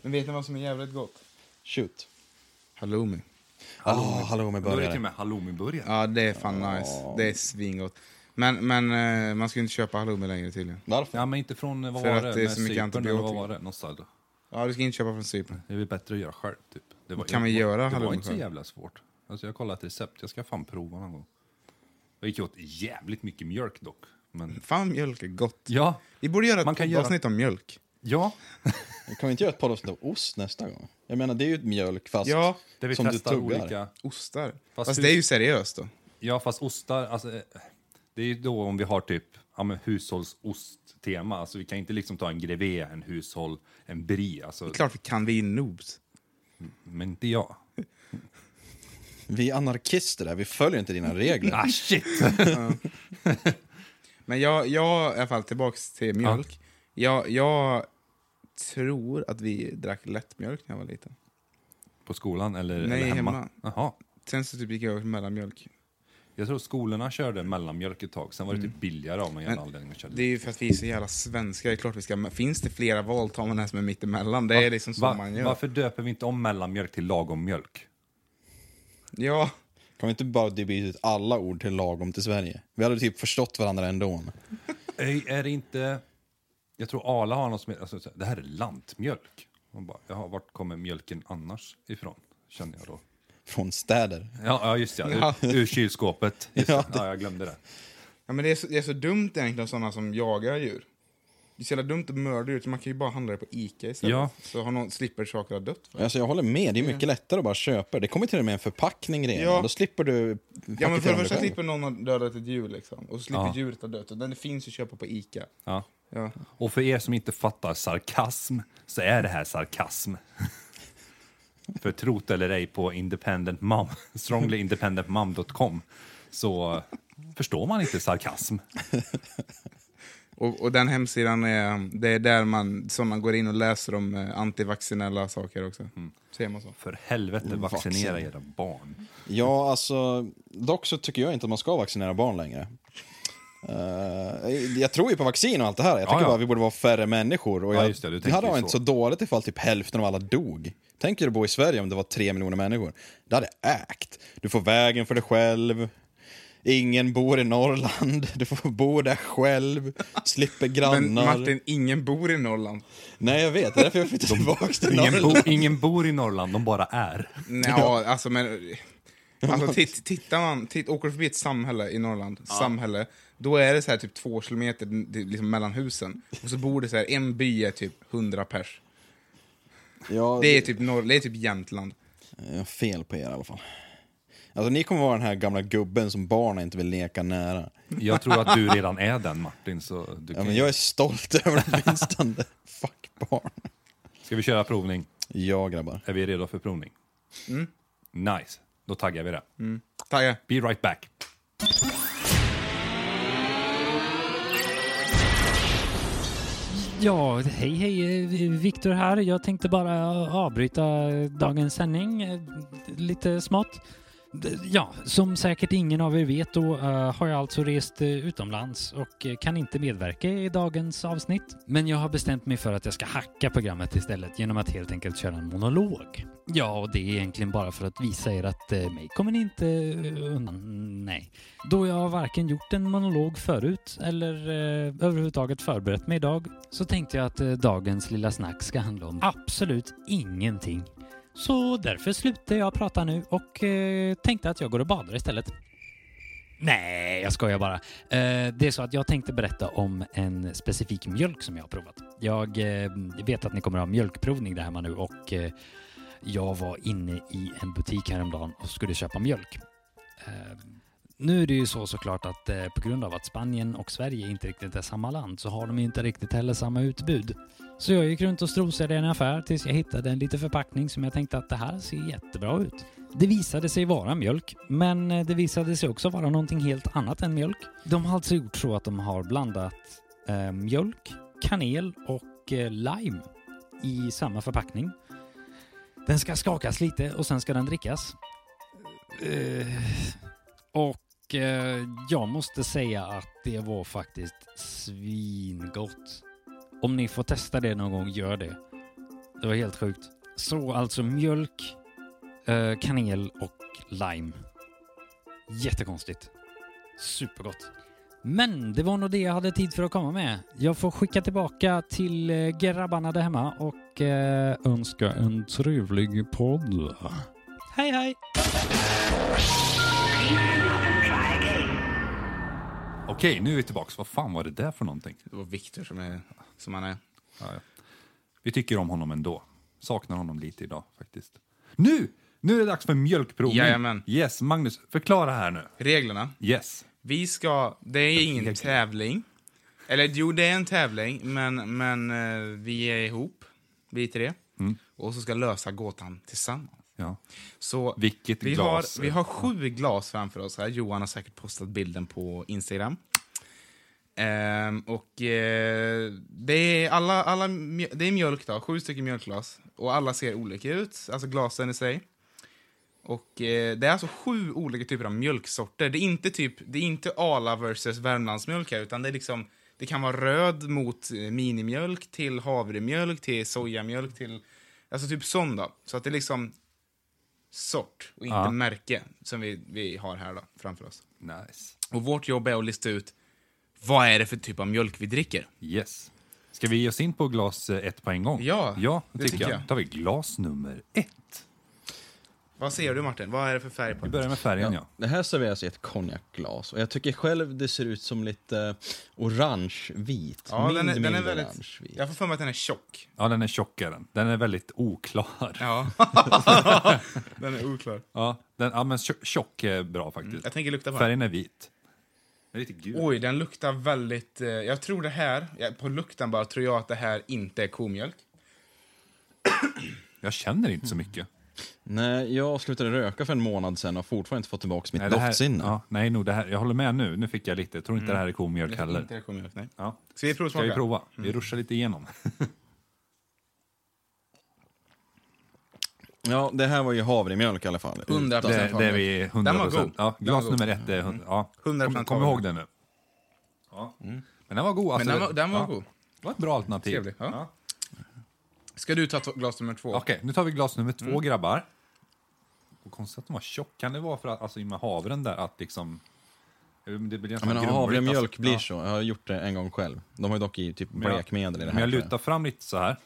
Men vet ni vad som är jävligt gott?
Shoot.
Halloumi.
Hallå, hallå med
Då är det till och
burgare.
med halloumiburgare.
Ja, det är fan nice. Det är svingott. Men, men eh, man ska ju inte köpa halloumi längre tydligen.
Varför?
Ja, men inte från, eh, vad
För
var
att
det?
det är
Med
så mycket
Cypern eller Vad
antibiotika.
var det? Någonstans.
Ja, du ska inte köpa från Cypern.
Det är väl bättre att göra själv, typ. Det var,
Kan man
det var-
göra
Det var
halloumi
inte så
själv?
jävla svårt. Alltså, jag har kollat recept, jag ska fan prova någon gång. Det gick åt jävligt mycket mjölk dock. Men...
Fan, mjölk är gott.
Ja,
Vi borde göra
Man
ett
kan
poddavsnitt om mjölk.
ja.
Kan vi inte göra ett par avsnitt av ost nästa gång? Jag menar, det är ju ett mjölk fast
Ja,
Där vi
som du
testar
tuggar.
olika...
Ostar.
Fast
Fast,
hur-
det är ju seriöst då.
Ja, fast ostar, alltså, eh, det är ju då om vi har typ ja, men hushållsost-tema. Alltså, vi kan inte liksom ta en grevé, en hushåll, en brie. Alltså,
Klart vi kan, vi är noobs.
men inte jag.
Vi är anarkister där, vi följer inte dina regler.
Ah, shit!
Men jag, jag är i alla fall tillbaks till mjölk. Jag, jag tror att vi drack lättmjölk när jag var liten.
På skolan eller,
Nej,
eller hemma?
hemma.
Jaha.
Sen så typ gick jag över till mellanmjölk.
Jag tror skolorna körde mellanmjölk ett tag, sen var det typ billigare av någon jävla
Mm. Men
anledning. att köra
Det är ju för att vi är så jävla svenskar. Det är klart vi ska, finns det flera val tar man den här som är mittemellan. Det är liksom så
Va-
man gör.
Varför döper vi inte om mellanmjölk till lagommjölk?
Ja,
Kan vi inte bara byta ut alla ord till lagom till Sverige? Vi hade typ förstått varandra ändå.
Är, är det inte... Jag tror Arla har något som heter... Alltså, så här, det här är lantmjölk. Man bara, jaha, vart kommer mjölken annars ifrån? Känner jag då.
Från städer.
Ja, ja just det. Ja. Ur, ur kylskåpet. Just det. Ja, jag glömde det.
ja men det är, så, det är så dumt egentligen sådana som jagar djur. Det är så jävla dumt att mörda djur, så man kan ju bara handla det på Ica istället.
Ja.
Så har någon, slipper saker ha dött för.
Alltså jag håller med, det är mycket lättare att bara köpa. Det kommer till och med en förpackning redan.
Ja.
Då slipper du...
Ja men för
paketera
det
dem
första
själv.
slipper någon ha dödat ett djur liksom. Och så slipper
Ja.
djuret ha dött. Och den finns ju att köpa på Ica.
Ja.
Ja.
Och för er som inte fattar sarkasm, så är det här sarkasm. För trot eller ej på independent mom, stronglyindependentmom.com så förstår man inte sarkasm.
Och, och den hemsidan är, det är där man, som man går in och läser om eh, antivaccinella saker också. Mm. Ser man så.
För helvete,
Mm,
vaccinera
Vaccinera.
era barn.
Ja, alltså... Dock så tycker jag inte att man ska vaccinera barn längre. Eh, jag tror ju på vaccin och allt det här. Jag tycker
Ja, ja.
bara att vi borde vara färre människor. Och
Ja,
jag,
just det, du
det
tänker
hade
ju
varit inte
så.
så dåligt ifall typ hälften av alla dog. Tänk er att bo i Sverige om det var tre miljoner människor. Det hade ägt. Du får vägen för dig själv. Ingen bor i Norrland. Du får bo där själv. Slipper grannar.
Men Martin, ingen bor i Norrland.
Nej, jag vet. Det är därför jag flyttade tillbaka till
Ingen, bo,
Norrland.
ingen bor i Norrland, de bara är.
Nej, alltså men... Alltså, titt, tittar man, titt, åker du förbi ett samhälle i Norrland, samhälle, då är det så här typ två kilometer n- till- liksom mellan husen. Och så bor det så här, en by är typ 100 pers.
Ja,
Det är typ, norr, det är typ Jämtland.
Jag har fel på er i alla fall. Alltså, ni kommer vara den här gamla gubben som barnen inte vill leka nära.
Jag tror att du redan är den Martin, så du
Ja,
kan...
men jag är stolt över det åtminstone. Fuck barn.
Ska vi köra provning?
Ja, grabbar.
Är vi redo för provning?
Mm.
Nice, då taggar vi det.
Tagga.
Be right back.
Ja, hej hej, eh, Viktor här. Jag tänkte bara avbryta dagens sändning eh, lite smått. D- Ja, som säkert ingen av er vet då eh, har jag alltså rest eh, utomlands och eh, kan inte medverka i dagens avsnitt. Men jag har bestämt mig för att jag ska hacka programmet istället genom att helt enkelt köra en monolog. Ja, och det är egentligen bara för att visa er att eh, mig kommer ni inte eh, undan. Nej. Då jag varken gjort en monolog förut eller eh, överhuvudtaget förberett mig idag så tänkte jag att eh, dagens lilla snack ska handla om absolut ingenting. Så därför slutar jag prata nu och eh, tänkte att jag går och badar istället. Nej, jag skojar bara. Eh, det är så att jag tänkte berätta om en specifik mjölk som jag har provat. Jag eh, vet att ni kommer att ha mjölkprovning där hemma nu och eh, jag var inne i en butik häromdagen och skulle köpa mjölk. Eh, Nu är det ju så såklart att eh, på grund av att Spanien och Sverige inte riktigt är samma land så har de ju inte riktigt heller samma utbud. Så jag gick runt och strosade i en affär tills jag hittade en liten förpackning som jag tänkte att det här ser jättebra ut. Det visade sig vara mjölk, men eh, det visade sig också vara någonting helt annat än mjölk. De har alltså gjort så att de har blandat eh, mjölk, kanel och eh, lime i samma förpackning. Den ska skakas lite och sen ska den drickas. Eh, och eh, jag måste säga att det var faktiskt svingott. Om ni får testa det någon gång, gör det. Det var helt sjukt. Så alltså mjölk, eh, kanel och lime. Jättekonstigt. Supergott. Men det var nog det jag hade tid för att komma med. Jag får skicka tillbaka till eh, grabbarna där hemma och eh, önska en trevlig podd. Hej hej!
Okej, nu är vi tillbaka. Vad fan var det där för någonting?
Det var Viktor som, är, som han är.
Ja, ja. Vi tycker om honom ändå. Saknar honom lite idag faktiskt. Nu! Nu är det dags för mjölkprovning.
Jajamän.
Yes, Magnus, förklara här nu.
Reglerna.
Yes.
Vi ska... Det är ingen tävling. Eller jo, det är en tävling, men, men eh, vi är ihop, vi tre. Och så ska lösa gåtan tillsammans.
Ja.
Så
Vilket
vi
glas.
Har, vi har sju glas framför oss här. Johan har säkert postat bilden på Instagram. Ehm, och eh, det, är alla, alla, mjö- det är mjölk då, sju stycken mjölkglas. Och alla ser olika ut, alltså glasen i sig. Och eh, det är alltså sju olika typer av mjölksorter. Det är inte typ, det är inte Ala versus Värmlandsmjölk här, utan det är liksom det kan vara röd mot eh, minimjölk till havremjölk till sojamjölk till alltså typ sån då. Så att det är liksom sort och inte
Ja.
märke som vi, vi har här då framför oss.
Nice.
Och vårt jobb är att lista ut vad är det för typ av mjölk vi dricker?
Yes. Ska vi ge oss in på glas eh, ett på en gång?
Ja,
ja det
det
tycker
tycker
jag.
jag.
tar vi glas nummer ett.
Vad säger du Martin? Vad är det för färg på
Vi
den?
börjar med färgen, ja.
Det här serveras i ett konjakglas och jag tycker själv det ser ut som lite orange-vit.
Ja,
mild,
den är, den är
mild
väldigt...
orange-vit.
Jag får för mig att den är tjock.
Ja, den är tjockare. Den. den är väldigt oklar. Ja,
Ja. den är oklar. Mm.
den, ja men tjo- tjock är bra faktiskt.
Jag tänker lukta på den.
Färgen är vit. Den är lite gul.
Oj, den luktar väldigt... Eh, jag tror det här, ja, på lukten bara, tror jag att det här inte är komjölk.
Jag känner inte så mycket.
Nej, jag slutade röka för en månad sedan och har fortfarande inte fått tillbaka mitt
Nej, det här-
doftsinne.
Ja, nej, nog det här. Jag håller med nu. Nu fick jag lite. Jag tror
Mm.
inte det här är komjölk heller.
Inte är komjölk, nej.
Ja.
Ska vi
Ska vi
provsmaka?
prova? Vi ruschar lite igenom.
Ja, det här var ju havremjölk i alla fall.
Hundra
Utan-
procent.
Det, det är vi 100
Den var god.
procent. Ja,
Den var
glas
god.
nummer ett är 100. Ja.
100%
Kom, kom
var
ihåg
god. Mm.
det nu. Ja. Men den var god.
Men
Alltså,
den var, den var
ja.
god.
Det var ett bra alternativ.
Trevlig, ja. Ska du ta t- glas nummer två?
Okej, nu tar vi glas nummer två,
Mm.
grabbar. Och konstigt att de var tjock. Kan det vara för att, alltså, i och med havren där, att liksom... Det blir
Ja,
nästan
men
grumligt,
havremjölk
alltså.
blir
Ja.
så. Jag har gjort det en gång själv. De har ju dock i typ
Men jag-
blekmedel i det
Om
här.
jag
tror jag.
lutar fram lite så här,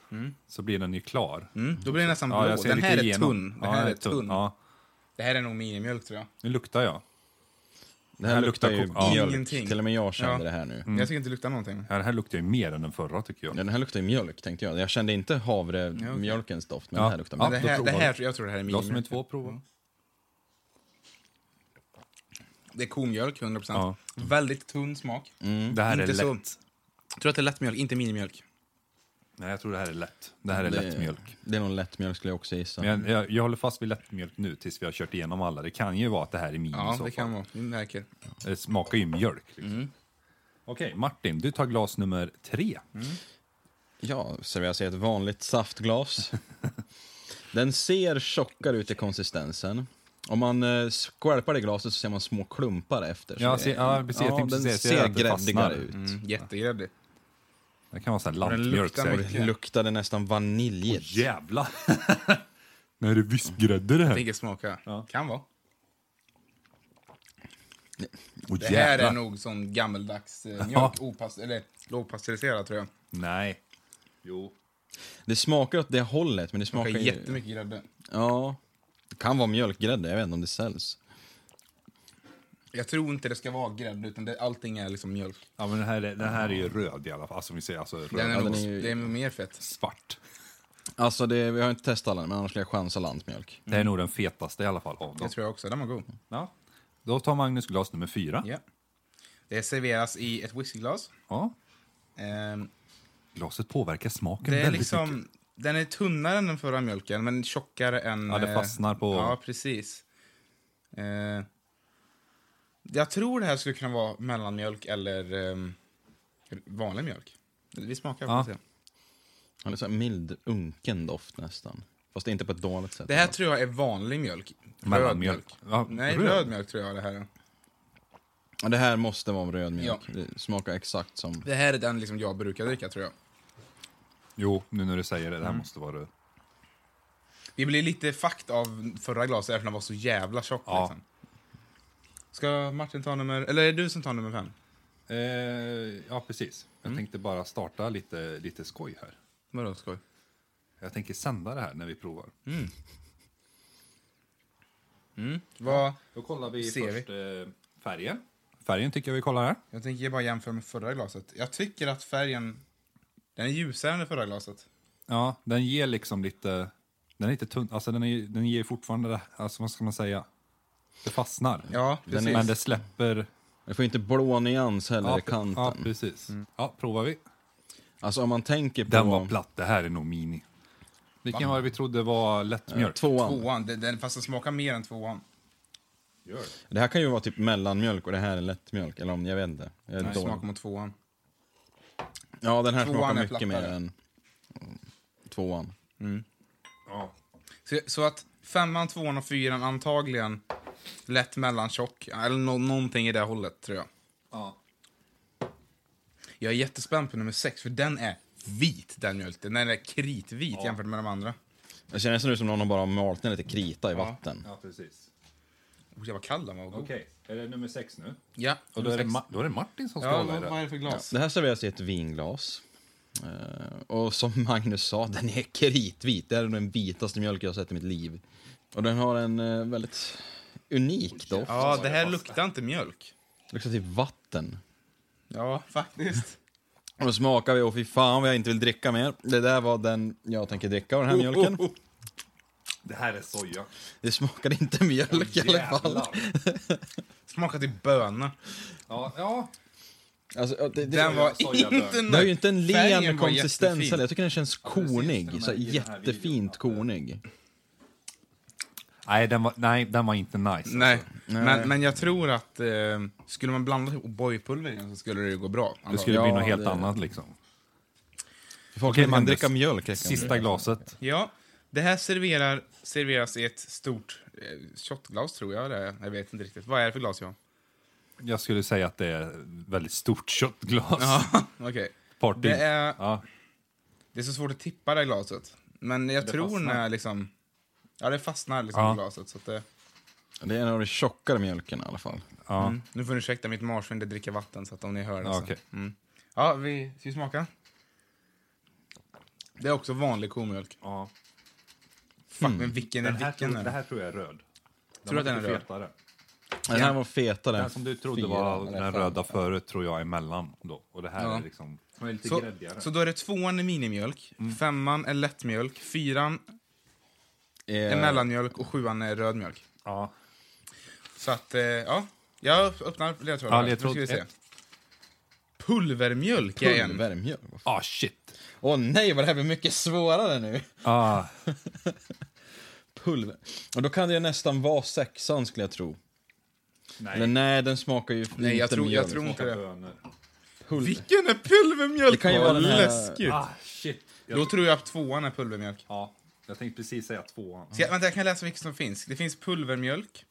så blir den ju klar.
Mm, då blir den nästan
Ja, jag
blå.
ser
Den
lite
här är
igenom.
tunn. Den
Ja,
här
den
är tunn.
Ja,
Det här är nog minimjölk tror jag.
nu luktar jag.
Det här
här
luktar
luktar
ju
kok- ja.
mjölk.
Ingenting.
Till och med jag kände
Ja. Mm.
det här nu.
Jag tycker inte det luktar någonting.
Mm. Ja, Det här luktar ju mer än den förra, tycker jag.
Ja, den här luktar ju mjölk tänkte jag. Jag kände inte
okej.
havremjölkens doft, men
Ja.
den här luktar
Ja.
mjölk.
det
då
här, det
provar
här,
vi.
jag tror det här är
Glas nummer
minimjölk.
två, prova.
Mm. Det är komjölk, 100%.
Ja.
Väldigt tunn smak.
Mm.
Det här
Inte
är
så-
lätt.
Jag tror att det är lättmjölk, inte minimjölk.
Nej, jag tror det här är lätt. Det här är lättmjölk.
Det är nog lättmjölk skulle jag också gissa.
Men jag, jag, jag håller fast vid lättmjölk nu tills vi har kört igenom alla. Det kan ju vara att det här är min i
Ja,
så
det
fall.
kan vara. Mm. Vi märker.
Det smakar ju mjölk. Liksom. Okej, Martin, du tar glas nummer tre.
Mm.
Ja, serveras i ett vanligt saftglas. Den ser tjockare ut i konsistensen. Om man eh, skvalpar det i glaset så ser man små klumpar efter. så
Ja,
det-
se- ja, precis. Jag
ja,
tänkte
den
precis säga
ser
att det fastnar.
gräddigare ut.
Mm, jättegräddig.
Det kan vara sån här
den
lantmjölk.
luktar
säkert.
mycket.
Det luktade nästan vaniljigt.
Oh, Jävlar! Nej, det är vispgrädde det här.
Tänker smaka. Kan vara.
Åh,
Det här
jävlar.
är nog sån gammeldags eh,
Ja.
mjölk, opass, eller lågpasteuriserad tror jag.
Nej. Jo.
Det smakar åt det hållet, men det smakar
Smakar
ju...
jättemycket grädde.
Ja. Det kan vara mjölkgrädde, jag vet inte om det säljs.
Jag tror inte det ska vara grädde, utan det, allting är liksom mjölk.
Ja, men den här, är- den här är ju röd i alla fall. Alltså, vi säger alltså röd.
Den är
den
nog,
är ju-
Det är nog mer fett.
Svart.
Alltså, det, vi har inte testat alla, men annars skulle jag chansa lantmjölk.
Det är nog den fetaste i alla fall av
Det
dem.
tror jag också. Den var god.
Ja. Då tar Magnus glas nummer fyra.
Ja. Det serveras i ett whiskyglas.
Ja.
Ehm,
Glaset påverkar smaken
Det är
väldigt mycket.
liksom, den är tunnare än den förra mjölken, men tjockare än...
Ja, det
eh,
fastnar på-
Ja, precis. Eh, jag tror det här skulle kunna vara mellanmjölk eller ehm, vanlig mjölk. Vi smakar på
Ja.
det.
Han är så här mild, unken doft nästan. Fast inte på ett dåligt sätt.
Det här tror jag är vanlig mjölk. Röd
Mellanmjölk.
mjölk.
Ja,
Nej,
röd.
röd. mjölk tror jag det här är.
Ja, det här måste vara röd mjölk.
Ja.
Det smakar exakt som...
Det här är den liksom jag brukar dricka tror jag.
Jo, nu när du säger det, det här
Mm.
måste vara röd.
Vi blev lite fakt av förra glaset eftersom den var så jävla tjock.
Ja.
Liksom. Ska Martin ta nummer... Eller är det du som tar nummer fem?
Eh, ja, precis. Jag
Mm.
tänkte bara starta lite, lite skoj här.
Vadå skoj?
Jag tänker sända det här när vi provar.
Vad...
Då kollar vi
Ser
först eh, färgen. Färgen tycker jag vi kollar här.
Jag tänker bara jämföra med förra glaset. Jag tycker att färgen den är ljusare än det förra glaset.
Ja, den ger liksom lite... Den är lite tunn. Alltså den, är, den ger fortfarande... det- Alltså vad ska man säga? Det fastnar.
Ja, precis.
Men det släpper...
Det får inte blå nyans heller i kanten.
ja precis.
Mm.
Ja, provar vi.
Alltså om man tänker på...
Den var platt. Det här är nog mini. Vilken var det vi trodde var lättmjölk?
Eh, Tvåan.
Tvåan, den, den, fast den smakar mer än tvåan.
Gör.
Det här kan ju vara typ mellanmjölk och det här är lättmjölk. Eller om, jag vet inte. Jag är
Den
dålig.
smakar mot tvåan.
Ja, den här
Tvåan
smakar
är
mycket mer
plattare.
än mm, tvåan.
Ja.
Så, så att femman, tvåan och fyran antagligen lätt mellantjock. Eller nå- någonting i det hållet tror jag.
ja.
Jag är jättespänd på nummer sex för den är vit den mjölken. Den är kritvit jämfört med de andra.
Det känns nu som någon har bara malt ner lite krita i vatten.
Ja, precis.
Oh, jag var kall den var. god.
Okej, är det nummer sex nu?
Ja,
Och då är, det
nummer
Ma-
sex.
då är det Martin som ska
Ja,
hålla i
vad, vad är
det.
det för glas?
Det här serveras i ett vinglas. Eh, och som Magnus sa, den är kritvit. Det här är den vitaste mjölk jag har sett i mitt liv. Och den har en eh, väldigt unik doft.
Ja, det här luktar inte mjölk.
Luktar typ vatten.
Ja, faktiskt.
Och då smakar vi och fy fan vad jag inte vill dricka mer. Det där var den jag tänker dricka av den här
Oh,
mjölken.
Oh,
Det här är soja.
Det smakade inte mjölk i alla fall.
Smakar till böna.
Ja, ja.
Alltså, ja, det, det,
Den var
Sojabönor.
inte
det har ju inte en
Färgen
len
var
konsistens
jättefin.
heller. Jag tycker den känns
precis, den här-
kornig. Så här
i den här videon,
jättefint
ja.
kornig.
Nej, den var, nej, den var inte nice.
Nej, men, men jag tror att eh, skulle man blanda ihop O'boy-pulver i den så skulle det ju gå bra.
Det skulle bli
Ja,
något helt
det-
annat liksom.
Folk
Okej,
kan
Magnus.
dricka mjölk. räcker det.
Sista glaset.
Ja, det här serverar, serveras i ett stort eh, shotglas tror jag det är. Jag vet inte riktigt. Vad är det för glas Johan?
Jag skulle säga att det är ett väldigt stort köttglas.
Okej.
Party.
Det är,
Ja,
det är så svårt att tippa det här glaset. Men jag tror
fastnar.
när liksom... Ja, det fastnar liksom
Ja.
i glaset. Så att det,
Det är en av de tjockare mjölken i alla fall.
ja.
mm. Nu får ni ursäkta mitt marsvin, det dricker vatten så att om ni hör det
Ja,
så.
okej.
Mm. Ja, vi, ska vi smaka? Det är också vanlig komjölk.
ja.
Fuck, men
Mm.
vilken är
Den här,
vilken?
tror,
är det?
det här tror jag är röd. Den
Tror du
var
att den
lite
är röd?
fetare.
Den här var fetare.
Den
än
som du trodde
fyran,
var
eller
den
fem.
röda förut tror jag är mellan. Då. Och det här
Ja.
är liksom... Den är lite
Så,
gräddigare.
så då är det tvåan är minimjölk,
Mm.
femman är lättmjölk, fyran är
Eh,
mellanmjölk och sjuan är rödmjölk.
ja.
Så att, eh, ja. Jag öppnar ledtrådar.
Ja,
här. Nu
ledtråd
ska vi se.
ett.
Pulvermjölk är en.
Pulvermjölk.
Ah, shit.
Åh nej, vad det här blir mycket svårare nu.
Ah,
Pulver. Och då kan det ju nästan vara sexan skulle jag tro.
nej.
Eller nej, den smakar ju
Nej,
inte
jag tror,
mjölk.
jag tror inte det.
Bönor.
Pulver.
Vilken är pulvermjölk?
Det kan ju
Vad
vara den här-
läskigt.
Ah, shit. Jag,
Då tror jag att tvåan är pulvermjölk.
ja, jag tänkte precis säga tvåan.
Så jag, vänta, jag kan läsa vilka som finns. Det finns pulvermjölk,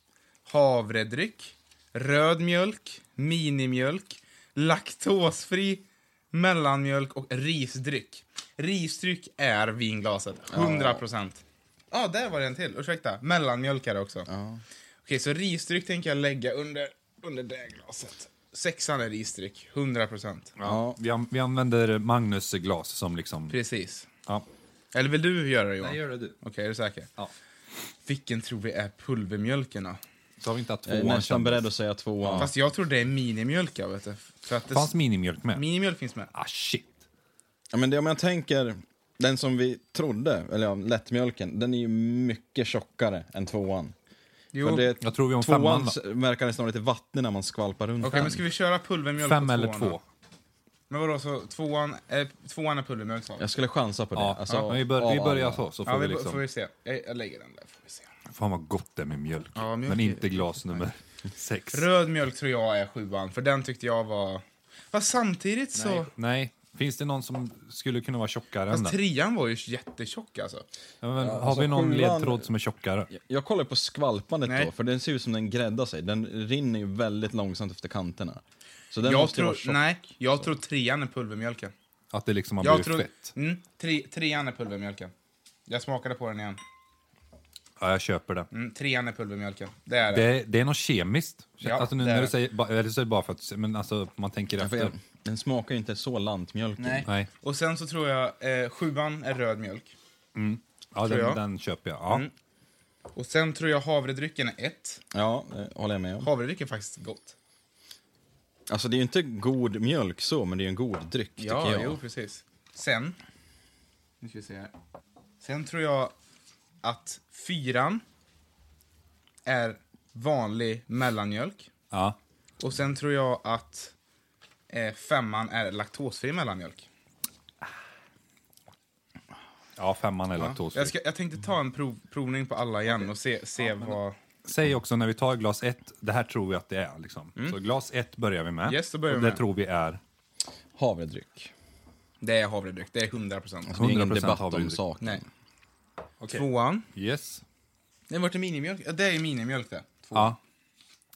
havredryck, rödmjölk, minimjölk, laktosfri, mellanmjölk och risdryck. Risdryck är vinglaset, 100 procent. Ja, där var det en till. Ursäkta, mellanmjölk är det också. Okej, så risdryck tänker jag lägga under, under det glaset. Sexan är risdryck, 100 procent.
Ja. Vi, an- vi använder Magnus glas som liksom...
Precis.
Ja.
Eller vill du göra det, Johan? Okej,
det du.
är du säker?
Ja.
Vilken tror vi är pulvermjölken då?
Så har vi inte att
Jag är
tvåan
Eh, nästan
kändes.
beredd att säga tvåan.
Fast jag tror det är minimjölk, jag vet du. För att det
Fanns minimjölk med?
minimjölk finns med.
ah, shit.
Ja, men det, om jag tänker, den som vi trodde, eller ja, lättmjölken, den är ju mycket tjockare än tvåan.
Jo,
För
okej
det,
Jag tror vi om femman
tvåan
va?
s- verkar det snarare lite vattnig när man skvalpar runt.
men ska vi köra pulvermjölk
Fem
på
eller
tvåan då?
två.
Men vadå, så tvåan, eh, tvåan är pulvermjölk sa vi?
Jag skulle chansa på det.
Ja,
Alltså,
men vi, bör, vi
av
börjar
alla.
så, så får
Ja,
vi
vi,
liksom...
får vi se. Jag, jag lägger den där. Får vi se.
Fan vad gott det är med mjölk.
Ja, mjölk
men
är-
inte glas nummer sex.
Röd mjölk tror jag är sjuan, för den tyckte jag var... Fast samtidigt så...
Nej. Nej. Finns det någon som skulle kunna vara tjockare än
Fast
den?
trean var ju jättetjock alltså.
Ja, men, har
alltså,
vi någon
sjuan-
ledtråd som är tjockare?
Jag- Jag kollar på skvalpandet
Nej.
då, för den ser ut som den gräddar sig. Den rinner ju väldigt långsamt efter kanterna. Så den
Jag
måste ju vara
tror,
tjock.
nej, jag tror trean är pulvermjölken.
Att det liksom har
Jag
blivit
tror,
fett?
mm, tre, trean är pulvermjölken. Jag smakade på den igen.
Ja, jag köper det.
Mm, trean är pulvermjölken. Det är det.
Det, det är något kemiskt.
Ja,
alltså, nu,
det är
när du
det.
säger, ba- eller så är det bara för att men alltså, man tänker
Ja, för
efter.
jag- Den smakar ju inte så lantmjölk.
Nej.
Nej.
Och sen så tror jag eh, sjuan är röd mjölk.
Ja,
Tror
den,
jag.
den köper jag. Ja.
Mm. Och sen tror jag havredrycken är ett.
Ja, det håller jag med om.
Havredryck är faktiskt gott.
Alltså det är ju inte god mjölk så, men det är ju en god dryck tycker jag.
jo, precis. Sen... Nu ska vi se här. Sen tror jag att fyran är vanlig mellanmjölk.
Ja.
Och sen tror jag att eh, femman är laktosfri mellanmjölk.
ja, femman är
Ja.
laktosfri.
Jag, ska, jag tänkte ta en prov, provning på alla igen och se, se vad...
Säg också när vi tar glas ett, det här tror vi att det är. Liksom. Så glas ett börjar vi med.
Yes, då börjar
och
vi
det
med.
tror vi är
Havredryck.
Det är havredryck, det är 100 procent.
Alltså, Det är ingen
100%
debatt om
havredryck.
saken.
Nej.
Okej.
Tvåan.
Yes.
Nej, vart är minimjölk? Ja, det är ju minimjölk det. Två.
Ja.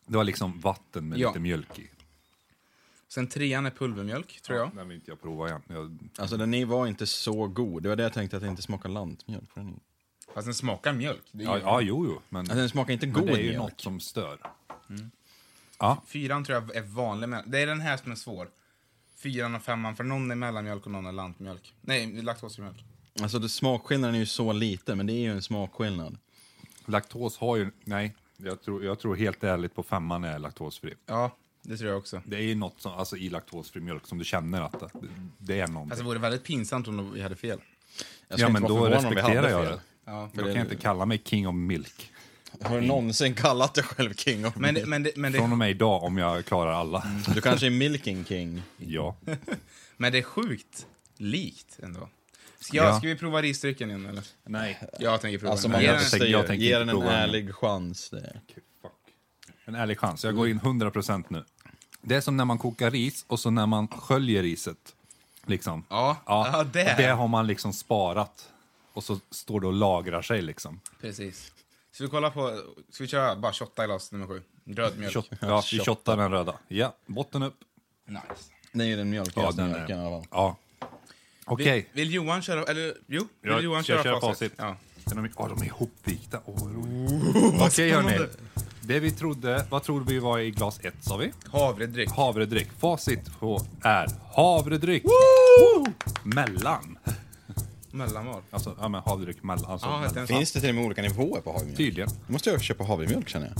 Det var liksom vatten med
Ja.
lite mjölk i.
Sen trean är pulvermjölk, tror jag.
Den vill inte jag prova igen. Jag,
Alltså den är- var inte så god. Det var det jag tänkte, att det inte smakar lantmjölk. För den, är-
Fast den smakar mjölk. Det är
ja,
ju-
ja, jo, jo. Men,
alltså, den smakar inte
men
god
det är ju
mjölk.
något som stör. Ja,
Fyran tror jag är vanlig mellan... Det är den här som är svår. Fyran och femman, för någon är mellanmjölk och någon är lantmjölk. Nej, laktosmjölk.
Alltså det, smakskillnaden är ju så liten, men det är ju en smakskillnad.
laktos har ju... Nej, jag tror, jag tror helt ärligt på femman är laktosfri.
Ja, det tror jag också.
Det är ju något som, alltså, i laktosfri mjölk som du känner att det, det är någonting.
Alltså, det vore väldigt pinsamt om vi hade fel.
Jag ska
ja,
inte
men
vara
då
förvånad om vi hade
respekterar jag
fel.
det.
Ja.
Då kan jag inte kalla mig king of milk.
Har du någonsin kallat dig själv king of
Men,
milk?
det- men, det, men,
Från och
det,
med idag om jag klarar alla.
Du kanske är milking king?
Ja.
men det är sjukt likt ändå. Ska,
Ja.
jag, ska vi prova risdrycken igen eller?
Nej.
Jag tänker prova
Alltså
den.
man
Ge
jag
den-
måste
tänker-
ju
jag tänker
ge
inte
den en
prova den.
ärlig chans. Det.
En ärlig chans. Jag går in
Mm.
100% nu. Det är som när man kokar ris och så när man sköljer riset. Liksom.
Ja, ja, det.
det har man liksom sparat. Och så står det och lagrar sig liksom.
Precis. Ska vi kolla på, ska vi köra bara shotta glas nummer sju? Röd mjölk.
Shot, ja, vi shottar den röda. Ja, botten upp.
Nice.
det är ju den mjölkigaste
den är-
mjölken i alla fall.
Ja. Okej.
Vill, vill Johan köra, eller jo, vill
Jag-
Johan
jag
köra
kör
facit?
facit.
Ja.
Den har vi- Åh, de är ihopvikta. Åh, vad roligt. Okej, hörni. Det vi trodde, vad trodde vi var i glas ett sa vi?
Havredryck.
Havredryck. Facit på är havredryck. Mellan.
Mellanval.
Alltså, ja men havredryck mellan. Alltså,
Ja,
mellan.
heter den så?
Finns det till och med olika nivåer på havremjölk?
Tydligen.
Då måste jag köpa havremjölk känner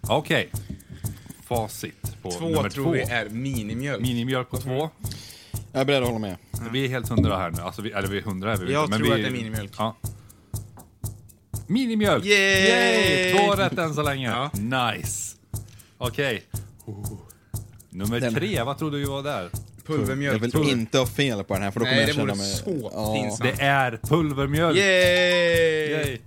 jag.
Okej. Facit på
Två
nummer
tror
två.
vi är minimjölk.
Minimjölk på två.
Jag är beredd att hålla med.
Vi är helt hundra här nu. Alltså, vi, eller vi är hundra är vi väl
Jag
inte,
tror
vi,
att det är minimjölk.
Ja. Minimjölk!
Yay!
Två rätt än så länge.
Ja. Oh.
Nice. Okej. Nummer
Den-
tre, vad trodde vi var där?
Jag
Pulvermjölk.
vill
tror vi.
inte ha fel på den här för då kommer
Nej, det
jag känna
vore
mig...
så
Ja.
pinsamt.
Det är pulvermjölk!
Yay!
Yay!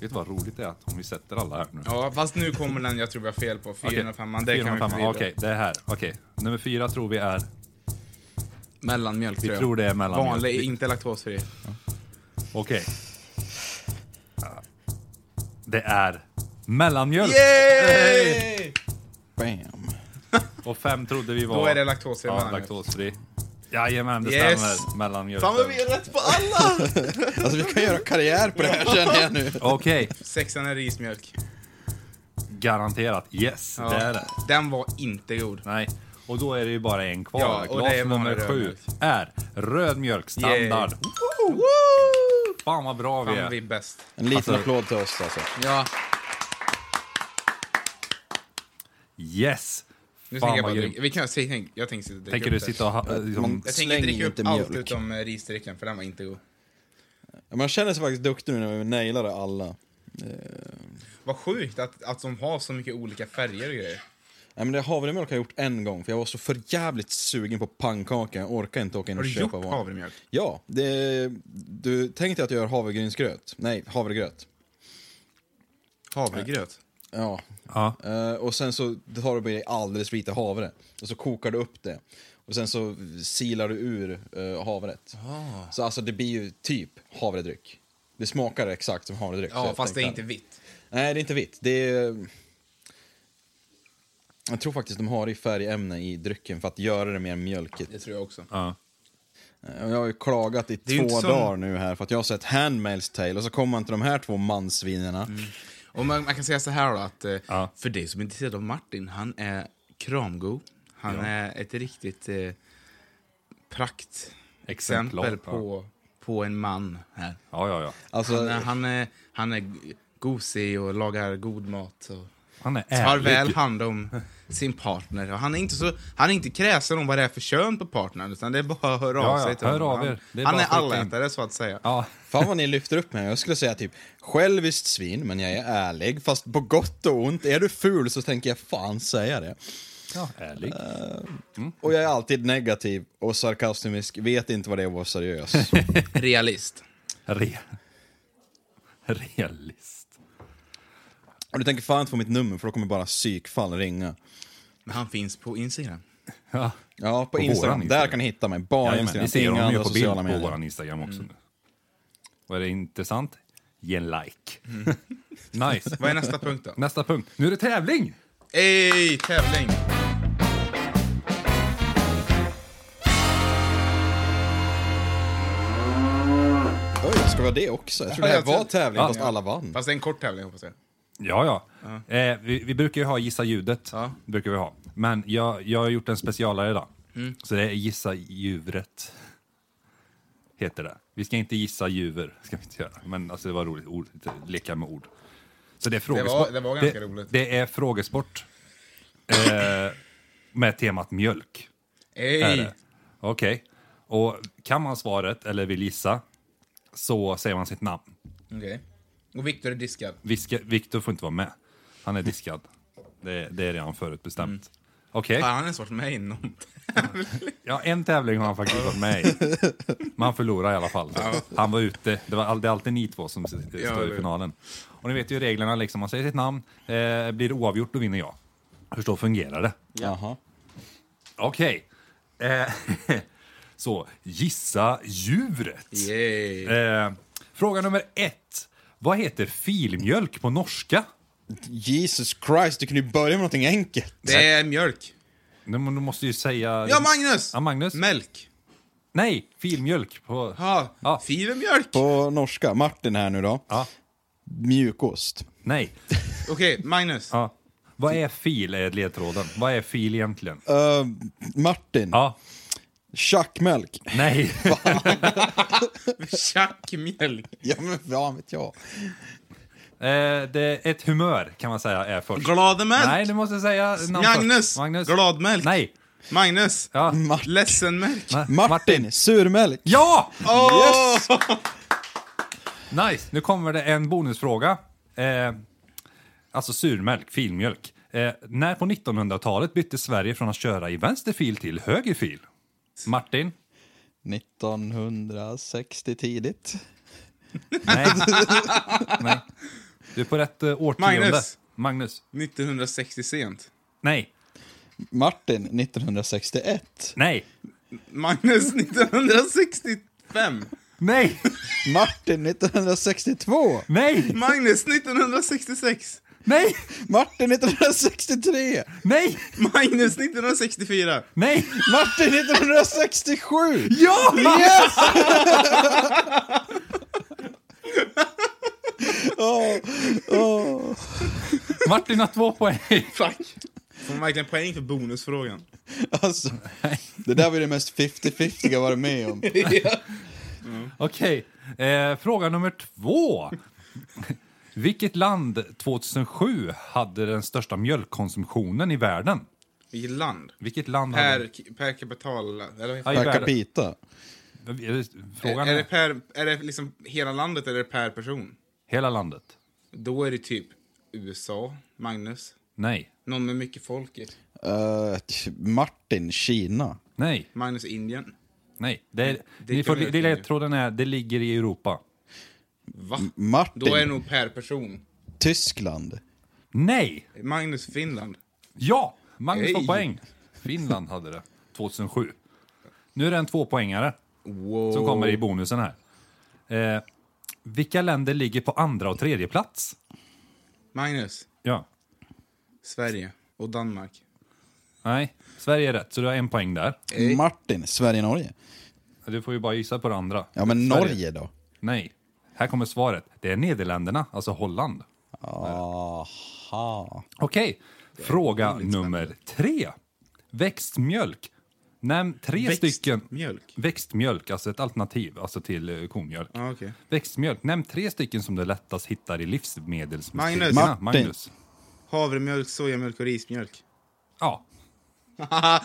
Vet du vad roligt det är att om vi sätter alla här nu?
Ja, fast nu kommer den jag tror vi har fel på.
Okej.
405, okay. det
Fyra
kan
och femman.
vi
Okej, det är här. Okej. Nummer fyra tror vi är...
Mellanmjölk
Vi
tror jag.
tror det är mellanmjölk.
Vanlig,
Vi-
inte laktosfri.
Okej. Det är mellanmjölk!
Yay!
Bam.
Och fem trodde vi var...
Då är det laktosfri
ja,
mellanmjölk.
laktosfri. Jajamän, det
Yes.
stämmer. Mellanmjölk.
Fan vad vi är rätt på alla!
Alltså vi kan göra karriär på det här känner jag nu.
Okej,
Sexan är rismjölk.
garanterat. Yes, det är det.
Den var inte god.
Nej. Och då är det ju bara en kvar.
Ja, och
Glas
det är
nummer
vanlig
sju
rödmjölk.
är röd mjölk standard.
Yay.
Fan vad bra vi är.
Fan vi är bäst.
En liten
Alltså-
applåd till oss alltså.
Ja.
Yes!
Nu
Fan
tänker jag bara
vad
dricka.
grym.
Vi kan, jag tänker jag tänker sitta och dricka
Tänker
upp
du
det.
sitta och... ha-
Mm.
äh, Liksom,
Man-
Jag tänker
Släng
dricka upp
inte
allt
mjölk.
utom eh, risdrycken, för den var inte god.
Man känner sig faktiskt duktig nu när vi nailade alla.
Vad sjukt att, att de har så mycket olika färger och grejer.
Nej, men det havremjölk har jag gjort en gång, för jag var så förjävligt sugen på pannkaka. Jag orkar inte åka in
Har
och
du
köpa
gjort
vanlig.
havremjölk?
Ja, det, du tänkte att jag gör havregrynsgröt. Nej, havregröt.
Havregröt?
Ja.
Ja.
Eh, och sen så tar du på dig alldeles för lite havre. Och så kokar du upp det. Och sen så silar du ur eh, havret.
Ah.
Så alltså det blir ju typ havredryck. Det smakar exakt som havredryck. så
Ja,
jag
fast det är
tänkte-
inte vitt.
Nej, det är inte vitt. Det är... Jag tror faktiskt de har i färgämne i drycken för att göra det mer mjölkigt.
Det tror jag också.
Ja.
Och Jag har ju klagat i
är ju
två
inte som-
dagar nu här för att jag har sett Handmail's Tale och så kommer man till de här två mansvinerna.
Mm. Och man, man kan säga så här då, att eh,
Ja.
för dig som är intresserad av Martin, han är kramgo. Han är ett riktigt eh, praktexempel
Exemplar,
på, på en man här.
ja, ja, ja.
Alltså,
Han är, han är, han är gosig och lagar god mat. Och
Han är
tar
ärlig.
väl hand om sin partner. Och han, är inte så, han är inte kräsen om vad det är för kön på partnern, utan det är bara att höra
Ja,
av
ja,
sig till
hör
honom.
av er. Det
Han
är
är,
bara
han är
att skicka in.
allätare, så att säga.
Ja,
fan vad ni lyfter upp mig. Jag skulle säga typ själviskt svin, men jag är ärlig. Fast på gott och ont. Är du ful så tänker jag fan säga det.
ja, ärlig.
Eh.
Och jag är alltid negativ och sarkastisk. Vet inte vad det är att vara seriös.
Realist.
Re... Realist.
och du tänker fan inte få mitt nummer för då kommer bara psykfall ringa.
Men han finns på Instagram.
Ja.
Ja, på,
På
Instagram.
våran Instagram.
Där kan ni hitta mig. Bara
Jajamän,
Instagram.
ni ser
Inga
honom ju
andra
på bild
sociala
på
medier.
vår Instagram också
Mm.
nu. Var det intressant? Ge en like.
Mm.
nice.
Vad är nästa punkt då?
Nästa punkt. Nu är det tävling!
Ey, tävling!
Oj, ska det vara det också? Jag trodde det här
Ja, jag
var
tror-
tävling
Ja.
fast alla vann.
Fast det är en kort tävling hoppas jag.
Ja, ja. Eh, vi, vi brukar ju ha Gissa ljudet.
Ja.
Brukar vi ha. Men jag, jag har gjort en specialare idag.
Mm.
Så det är Gissa djuret. Heter det. Vi ska inte gissa djur. Ska vi inte göra. Men alltså, det var roligt. Ord, lite leka med ord. Så det är frågesport.
det var ganska roligt.
Det är frågesport. Eh, med temat mjölk. Är
Ey!
det. Okej. Och kan man svaret eller vill gissa så säger man sitt namn.
Okej. Och Viktor är diskad.
Viska- Victor får inte vara med. Han är diskad. Det, det är redan förutbestämt.
Mm.
Okej,
Fan, han har ens varit med i någon tävling.
ja, en tävling har han faktiskt varit med i. Men han förlorade i alla fall. Han var ute. Det, var, all- det är alltid ni två som s-
Ja,
står
det-
i finalen. Och ni vet ju reglerna, liksom. man säger sitt namn. Eh, blir det oavgjort, då vinner jag. Hur så fungerar det?
Jaha.
Okej. Eh, så, gissa djuret.
Yay!
Eh, fråga nummer ett. Vad heter filmjölk på norska?
Jesus Christ, du kunde ju börja med någonting enkelt.
Det är mjölk.
Nej, men Du måste ju säga...
Ja, Magnus!
Ja, Magnus.
Mjölk.
Nej, filmjölk på...
Ja,
Ja.
fibermjölk.
På norska, Martin här nu då.
Ja.
Mjukost.
Nej.
Okej, Magnus.
Ja. Vad är fil är ledtråden? Vad är fil egentligen?
Eh, Martin,
Ja.
tjackmjölk.
Nej.
Tjackmjölk.
Ja men fan vet jag.
Eh, det, ett humör kan man säga är först.
Glademjölk.
Nej, du måste säga namn först.
Magnus.
Magnus.
Gladmjölk.
Nej.
Magnus.
Ja.
Mart-
Ledsenmjölk.
Ma-
Martin, surmjölk.
Ja!
Yes!
Nice! Nu kommer det en bonusfråga. Eh, alltså surmjölk, filmjölk. Eh, när på 1900-talet bytte Sverige från att köra i vänster fil till höger fil? Martin?
1960 tidigt.
Nej. Nej. Du är på rätt eh, årtionde.
Magnus.
Magnus?
1960 sent.
Nej.
Martin, 1961.
Nej.
Magnus 1965.
Nej!
Martin, 1962.
Nej!
Magnus 1966.
Nej!
Martin, 1963.
Nej!
Magnus 1964.
Nej!
Martin, 1967.
Ja!
Yes! Åh, åh.
Martin har två poäng.
Fuck. Får man verkligen poäng för bonusfrågan?
Alltså, det där var det mest 50-50 jag varit med om.
Okej. Eh, fråga nummer två. Vilket land 2007 hade den största mjölkkonsumtionen i världen?
Vilket land?
Vilket land hade...
Per, per kapital... Eller vad heter
Ja, i
Per
världen.
capita.
Är det-
det?
Frågan
Är det,
är...
per, är det liksom hela landet eller är det per person?
Hela landet.
Då är det typ USA, Magnus?
Nej,
Någon med mycket folk i?
Eh, t- Martin, Kina.
nej,
Magnus Indien?
nej. Det, är,
det kan
ni får,
vi
det,
inte.
ledtråden är, det ligger i Europa.
Va?
Martin,
Då är det nog per person.
Tyskland.
Nej!
Magnus Finland?
Ja! Magnus får
Hej.
poäng. Finland hade det 2007. Nu är det en tvåpoängare
Wow.
som kommer i bonusen här. Eh, vilka länder ligger på andra och tredje plats?
Magnus,
Ja.
Sverige och Danmark.
Nej, Sverige är rätt, så du har en poäng där.
Eh.
Martin, Sverige, Norge.
Du får ju bara gissa på det andra.
Ja, men
Sverige.
Norge då?
Nej. Här kommer svaret. Det är Nederländerna, alltså Holland.
Aha.
Okej, fråga nummer tre. Växtmjölk. Nämn tre stycken...
Mjölk?
Växtmjölk, alltså ett alternativ alltså till eh, komjölk.
Ja, okej.
Växtmjölk, nämn tre stycken som du lättast hittar i livsmedelsbutikerna.
Magnus.
Martin.
Magnus.
Havremjölk, sojamjölk och rismjölk.
Ja.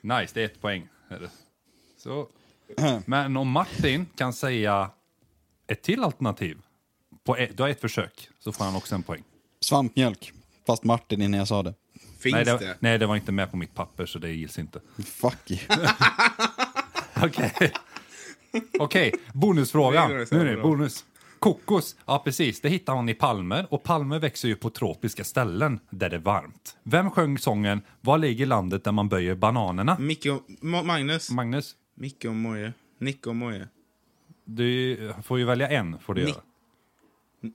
nice, det är ett poäng. Är det. Så. Men om Martin kan säga ett till alternativ, på ett, du har ett försök, så får han också en poäng.
Svampmjölk. Fast Martin innan jag sa det.
Finns
Nej
det?
det, nej, det var inte med på mitt papper, så det gills inte.
Fuck you.
Okej. Okej, bonusfrågan.
Det går
Nu
så
är det
bra.
bonus. Kokos, ja precis, det hittar man i palmer och palmer växer ju på tropiska ställen där det är varmt. Vem sjöng sången Var ligger landet där man böjer bananerna?
Micke och... Ma- Magnus?
Magnus,
Micke och Moje. Nicke och Moje.
du får ju välja en. Får du,
Ni-
göra.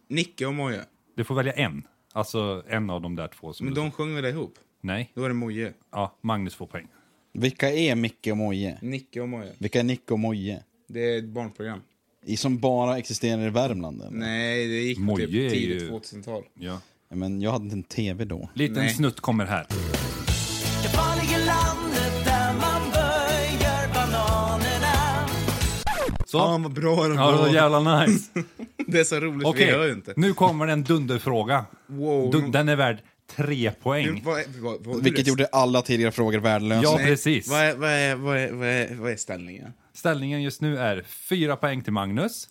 Nicke och Moje.
du får välja en. Alltså en av de där två. Som
Men
du...
de sjöng väl ihop?
Nej,
Då är det Moje.
ja, Magnus får poäng.
Vilka är Micke och Moje?
Nicke och Moje.
Vilka är Nick och Moje?
Det är ett barnprogram.
I som bara existerar i Värmland? Eller?
Nej, det gick på
Moje
typ
är ju-
tidigt 2000-tal.
Ja.
Men jag hade inte en tv då.
Liten
Nej.
snutt kommer här.
Det farliga landet där man böjer bananerna
Så.
Fan vad bra den
Ja, det var
var.
jävla nice.
Det är så roligt för vi
Okej,
hör ju inte.
nu kommer en dunderfråga.
Wow.
Dun- Den är värd tre
Du,
poäng.
vad, är- vad, vad,
Vilket gjorde alla tidigare frågor värdelösa.
Ja,
Nej,
precis.
Vad är, vad, är, vad, är, vad, är, vad är ställningen?
Ställningen just nu är fyra poäng till Magnus,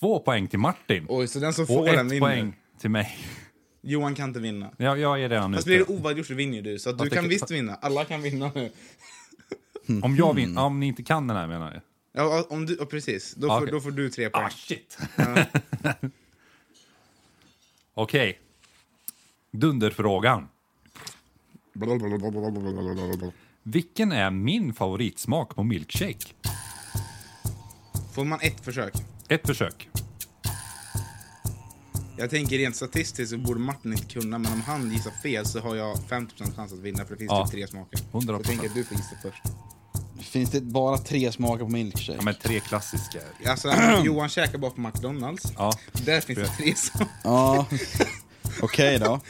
två poäng till Martin
Oj, så den som får
och
den
ett
vinner.
poäng till mig.
Johan kan inte vinna.
Jag, jag är redan
Fast
ute.
blir det oavgjort så vinner ju du, så att du
Fast det
kan
kan-
visst vinna. Alla kan vinna nu.
Om jag
Mm.
vinner, om ni inte kan den här menar jag.
Ja, om du, ja precis. Då,
Ja,
får,
okej.
då får du tre poäng.
Ah, shit! Okej. Dunderfrågan. Ah. Vilken är min favoritsmak på milkshake?
Får man ett försök?
Ett försök.
Jag tänker rent statistiskt så borde Martin inte kunna, men om han gissar fel så har jag 50% chans att vinna för det finns
Ja.
typ tre smaker.
100%.
Jag tänker att du får gissa först.
Finns det bara tre smaker på
Ja,
milkshake?
men tre klassiska.
Alltså, Johan käkar bara på McDonalds.
Ja.
Där finns det tre smaker.
Ja. Okej då.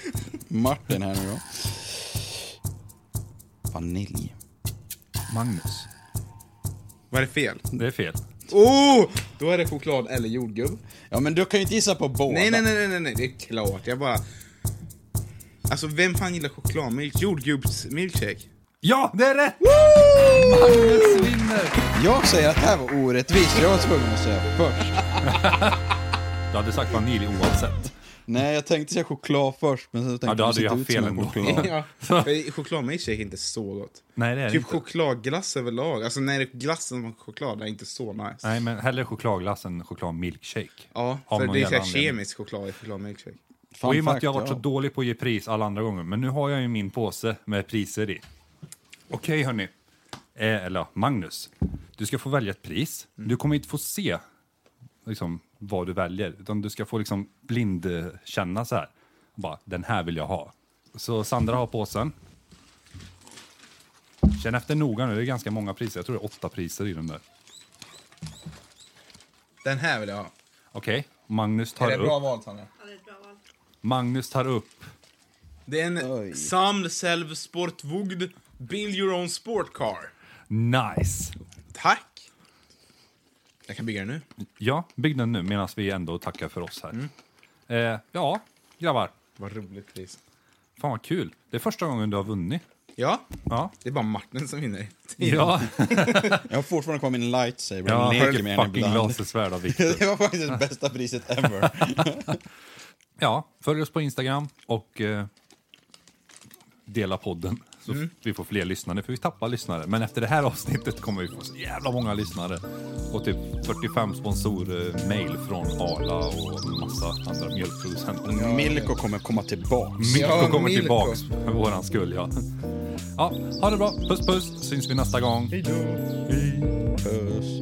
Martin här nu då. Vanilj.
Magnus.
Var det fel?
Det är fel.
Oh! Då är det choklad eller jordgubb.
Ja men du kan ju inte gissa på båda.
Nej, nej, nej, nej, nej, nej, det är klart. Jag bara... Alltså, vem fan gillar chokladmilk? Jordgubbsmilkshake?
Ja, det är rätt! Magnus vinner!
Jag säger att det här var orättvist. Jag var tvungen att säga först.
Du hade sagt vanilj oavsett.
Nej jag tänkte säga choklad först men så tänkte
Ja, då
jag
hade
det
jag
ser
haft
ut som
fel
en choklad.
ändå.
Ja, för chokladmilkshake är inte så gott.
Nej, det är det
Typ
inte.
chokladglass överlag. Alltså när det är glassen med choklad det är inte så nice.
Nej, men hellre chokladglass än chokladmilkshake.
Ja,
Av
för
någon
det är
jävla
såhär
anledning.
kemisk choklad i chokladmilkshake.
Fun
Och i och med att
fact,
jag har varit
ja.
så dålig på att ge pris alla andra gånger, men nu har jag ju min påse med priser i. Okej, hörni. Eh, eller ja, Magnus, du ska få välja ett pris. Du kommer inte få se liksom, vad du väljer, utan du ska få liksom, blindkänna så här. Bara, den här vill jag ha. Så Sandra har påsen. Känn efter noga nu, det är ganska många priser. Jag tror det är åtta priser i den där.
Den här vill jag ha.
Okej, Magnus
Är
tar
det
upp.
bra val, Tanja?
Magnus tar upp.
Det är
Oj.
en Sam Selv Sportvogd Build Your Own Sport Car.
Nice!
Tack! Jag kan bygga den nu.
Ja, bygg den nu medan vi ändå tackar för oss här.
Mm.
Eh, ja, grabbar.
Vad roligt pris.
Fan vad kul. Det är första gången du har vunnit.
Ja,
Ja.
det är bara Martin som vinner.
Ja,
Jag har fortfarande kvar min lightsaber.
ja
Jag leker med den
fucking
ibland.
lasersvärd av Viktor.
Det var faktiskt bästa priset ever.
Ja, följ oss på Instagram och eh, dela podden. Så
Mm.
vi får fler lyssnare, för vi tappar lyssnare. Men efter det här avsnittet kommer vi få så jävla många lyssnare. Och typ 45 sponsormail från Arla och massa andra mjölkproducenter.
Milko kommer komma tillbaks.
Milko
Ja,
kommer
Milko.
tillbaks för våran skull, ja. Ja, ha det bra. Puss puss, syns vi nästa gång.
Puss.